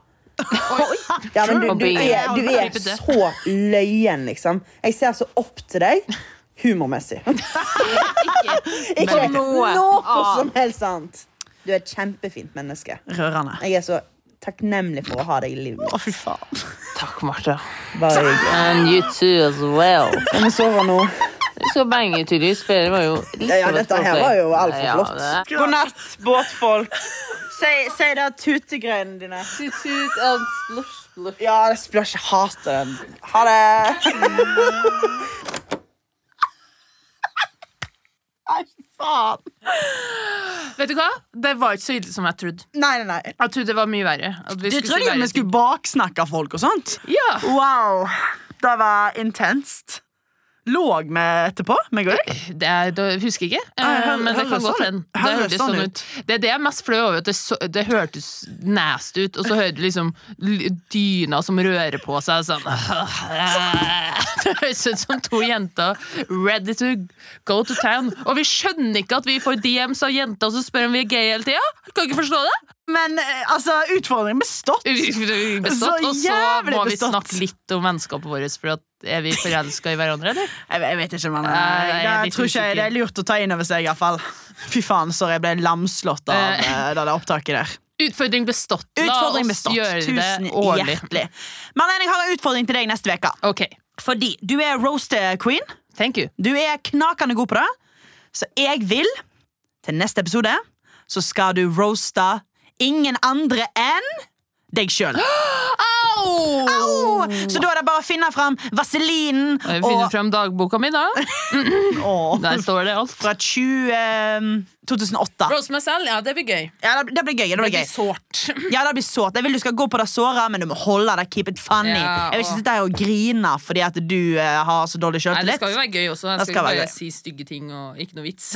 Speaker 5: Ja, men du, du, er, du er så løyen, liksom. Jeg ser så opp til deg
Speaker 2: [LAUGHS]
Speaker 5: humormessig. Ikke
Speaker 1: Men-
Speaker 5: noe som helst annet. Du er et kjempefint menneske.
Speaker 2: Rørende.
Speaker 5: Jeg er så takknemlig for å ha deg i livet mitt.
Speaker 2: Å, fy faen.
Speaker 1: Takk, Martha.
Speaker 5: Bare hyggelig.
Speaker 1: And you too as well.
Speaker 5: Jeg må sove nå.
Speaker 1: Så bange til spiller var jo litt
Speaker 5: Ja, ja,
Speaker 1: av et
Speaker 5: dette her
Speaker 1: opplegg.
Speaker 5: var jo alt for
Speaker 1: Ja,
Speaker 5: flott.
Speaker 1: det er-
Speaker 5: God natt, båtfolk. Si, si det tutegreiene dine.
Speaker 1: Tut, tut, and slush, slush.
Speaker 5: Ja, det spør ikke hat den. Ha [LAUGHS] det. Nei, faen.
Speaker 1: Vet du hva? Det var ikke så ille som jeg trodde.
Speaker 5: Nei, nei, nei.
Speaker 1: Jeg trodde det var mye verre. At vi
Speaker 2: Du
Speaker 1: skulle si
Speaker 2: trodde jo
Speaker 1: verre
Speaker 2: vi skulle baksnakke folk og sånt?
Speaker 1: ting. Ja.
Speaker 2: Wow. Det var intenst. Låg vi etterpå, meg og deg?
Speaker 1: Det er, da husker jeg ikke,
Speaker 2: Nei, hø-
Speaker 1: eh, men det kan
Speaker 2: høres
Speaker 1: godt
Speaker 2: sånn-
Speaker 1: hende. Det
Speaker 2: høres
Speaker 1: hørtes
Speaker 2: sånn
Speaker 1: sånn ut. Det er det jeg er mest flau over, at det, så, det hørtes nasty ut, og så hører du liksom l- dyna som rører på seg, sånn [LAUGHS] Det høres ut som to jenter ready to go to town. Og vi skjønner ikke at vi får DMs av jenter som spør om vi er gay hele tida! Kan ikke forstå
Speaker 2: [LAUGHS]
Speaker 1: det!
Speaker 2: Men eh, altså, utfordringen bestått.
Speaker 1: Bestått, og så
Speaker 2: jævlig
Speaker 1: må vi
Speaker 2: bestått.
Speaker 1: snakke litt om vennskapet vårt, for at er vi forelska i hverandre, eller?
Speaker 2: Jeg, jeg vet ikke, men eh,
Speaker 1: Nei, jeg er
Speaker 2: jeg
Speaker 1: litt
Speaker 2: tror ikke
Speaker 1: usikker.
Speaker 2: det er lurt å ta inn over seg. i hvert fall Fy faen, sorry, jeg ble lamslått av
Speaker 1: Eh.
Speaker 2: eh, det der opptaket der.
Speaker 1: Utfordring bestått.
Speaker 2: Utfordring bestått.
Speaker 1: La oss gjøre
Speaker 2: Tusen
Speaker 1: det årlig.
Speaker 2: hjertelig. Marlene, jeg har en utfordring til deg neste uke.
Speaker 1: Ok,
Speaker 2: Fordi du er roast-queen.
Speaker 1: thank you.
Speaker 2: Du er knakende god på det. Så jeg vil, til neste episode, så skal du roaste ingen andre enn
Speaker 1: [GASPS]
Speaker 2: deg sjøl. Så da er det bare å finne fram vaselinen
Speaker 1: Jeg finner
Speaker 2: og
Speaker 1: frem dagboka mi, da.
Speaker 2: Åh,
Speaker 1: [LAUGHS] Der står det alt.
Speaker 2: Fra 20, eh, 2008.
Speaker 1: Roast meg selv, ja, det blir gøy.
Speaker 2: Ja, det, det blir gøy. Det blir gøy.
Speaker 1: sårt.
Speaker 2: Ja, det blir sårt. Jeg vil du skal gå på det såret, men du må holde det. Keep it funny.
Speaker 1: Ja,
Speaker 2: jeg vil ikke
Speaker 1: og-
Speaker 2: sitte her og grine fordi at du eh, har så dårlig
Speaker 1: Nei, det
Speaker 2: sjøltillit.
Speaker 1: skal jo være gøy også.
Speaker 2: Det
Speaker 1: Jeg skal,
Speaker 2: skal
Speaker 1: ikke bare
Speaker 2: være gøy.
Speaker 1: si stygge ting og ikke noe vits.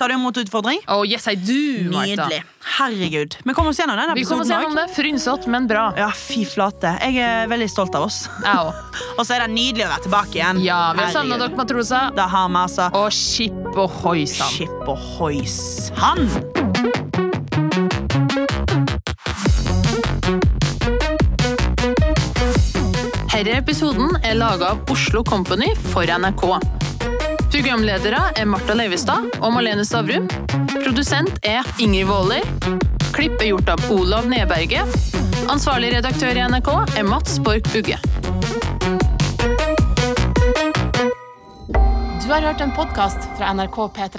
Speaker 2: Tar du imot utfordring?
Speaker 1: [LAUGHS] oh, yes, I do, Martha.
Speaker 2: Nydelig. Herregud. Vi kommer oss gjennom den
Speaker 1: Vi kommer
Speaker 2: episoden
Speaker 1: se om
Speaker 2: også.
Speaker 1: det. Frynsete, men bra.
Speaker 2: Ja, fy flate. Jeg er veldig stolt av oss.
Speaker 1: Jeg òg.
Speaker 2: Og så er det nydelig å være tilbake igjen.
Speaker 1: Ja, vi har savna
Speaker 2: Herregud.
Speaker 1: dere, matrosa.
Speaker 2: Det har vi, altså.
Speaker 1: Og skip og hoisann.
Speaker 2: Skip og hoisann.
Speaker 1: Herre episoden er laga av Oslo Company for NRK. Programledere er Marta Leivestad og Malene Stavrum. Produsent er Ingrid Waaler. Klipp er gjort av Olav Neberge. Ansvarlig redaktør i NRK er Mats Borch Bugge.
Speaker 6: Du har hørt en podkast fra NRK P3.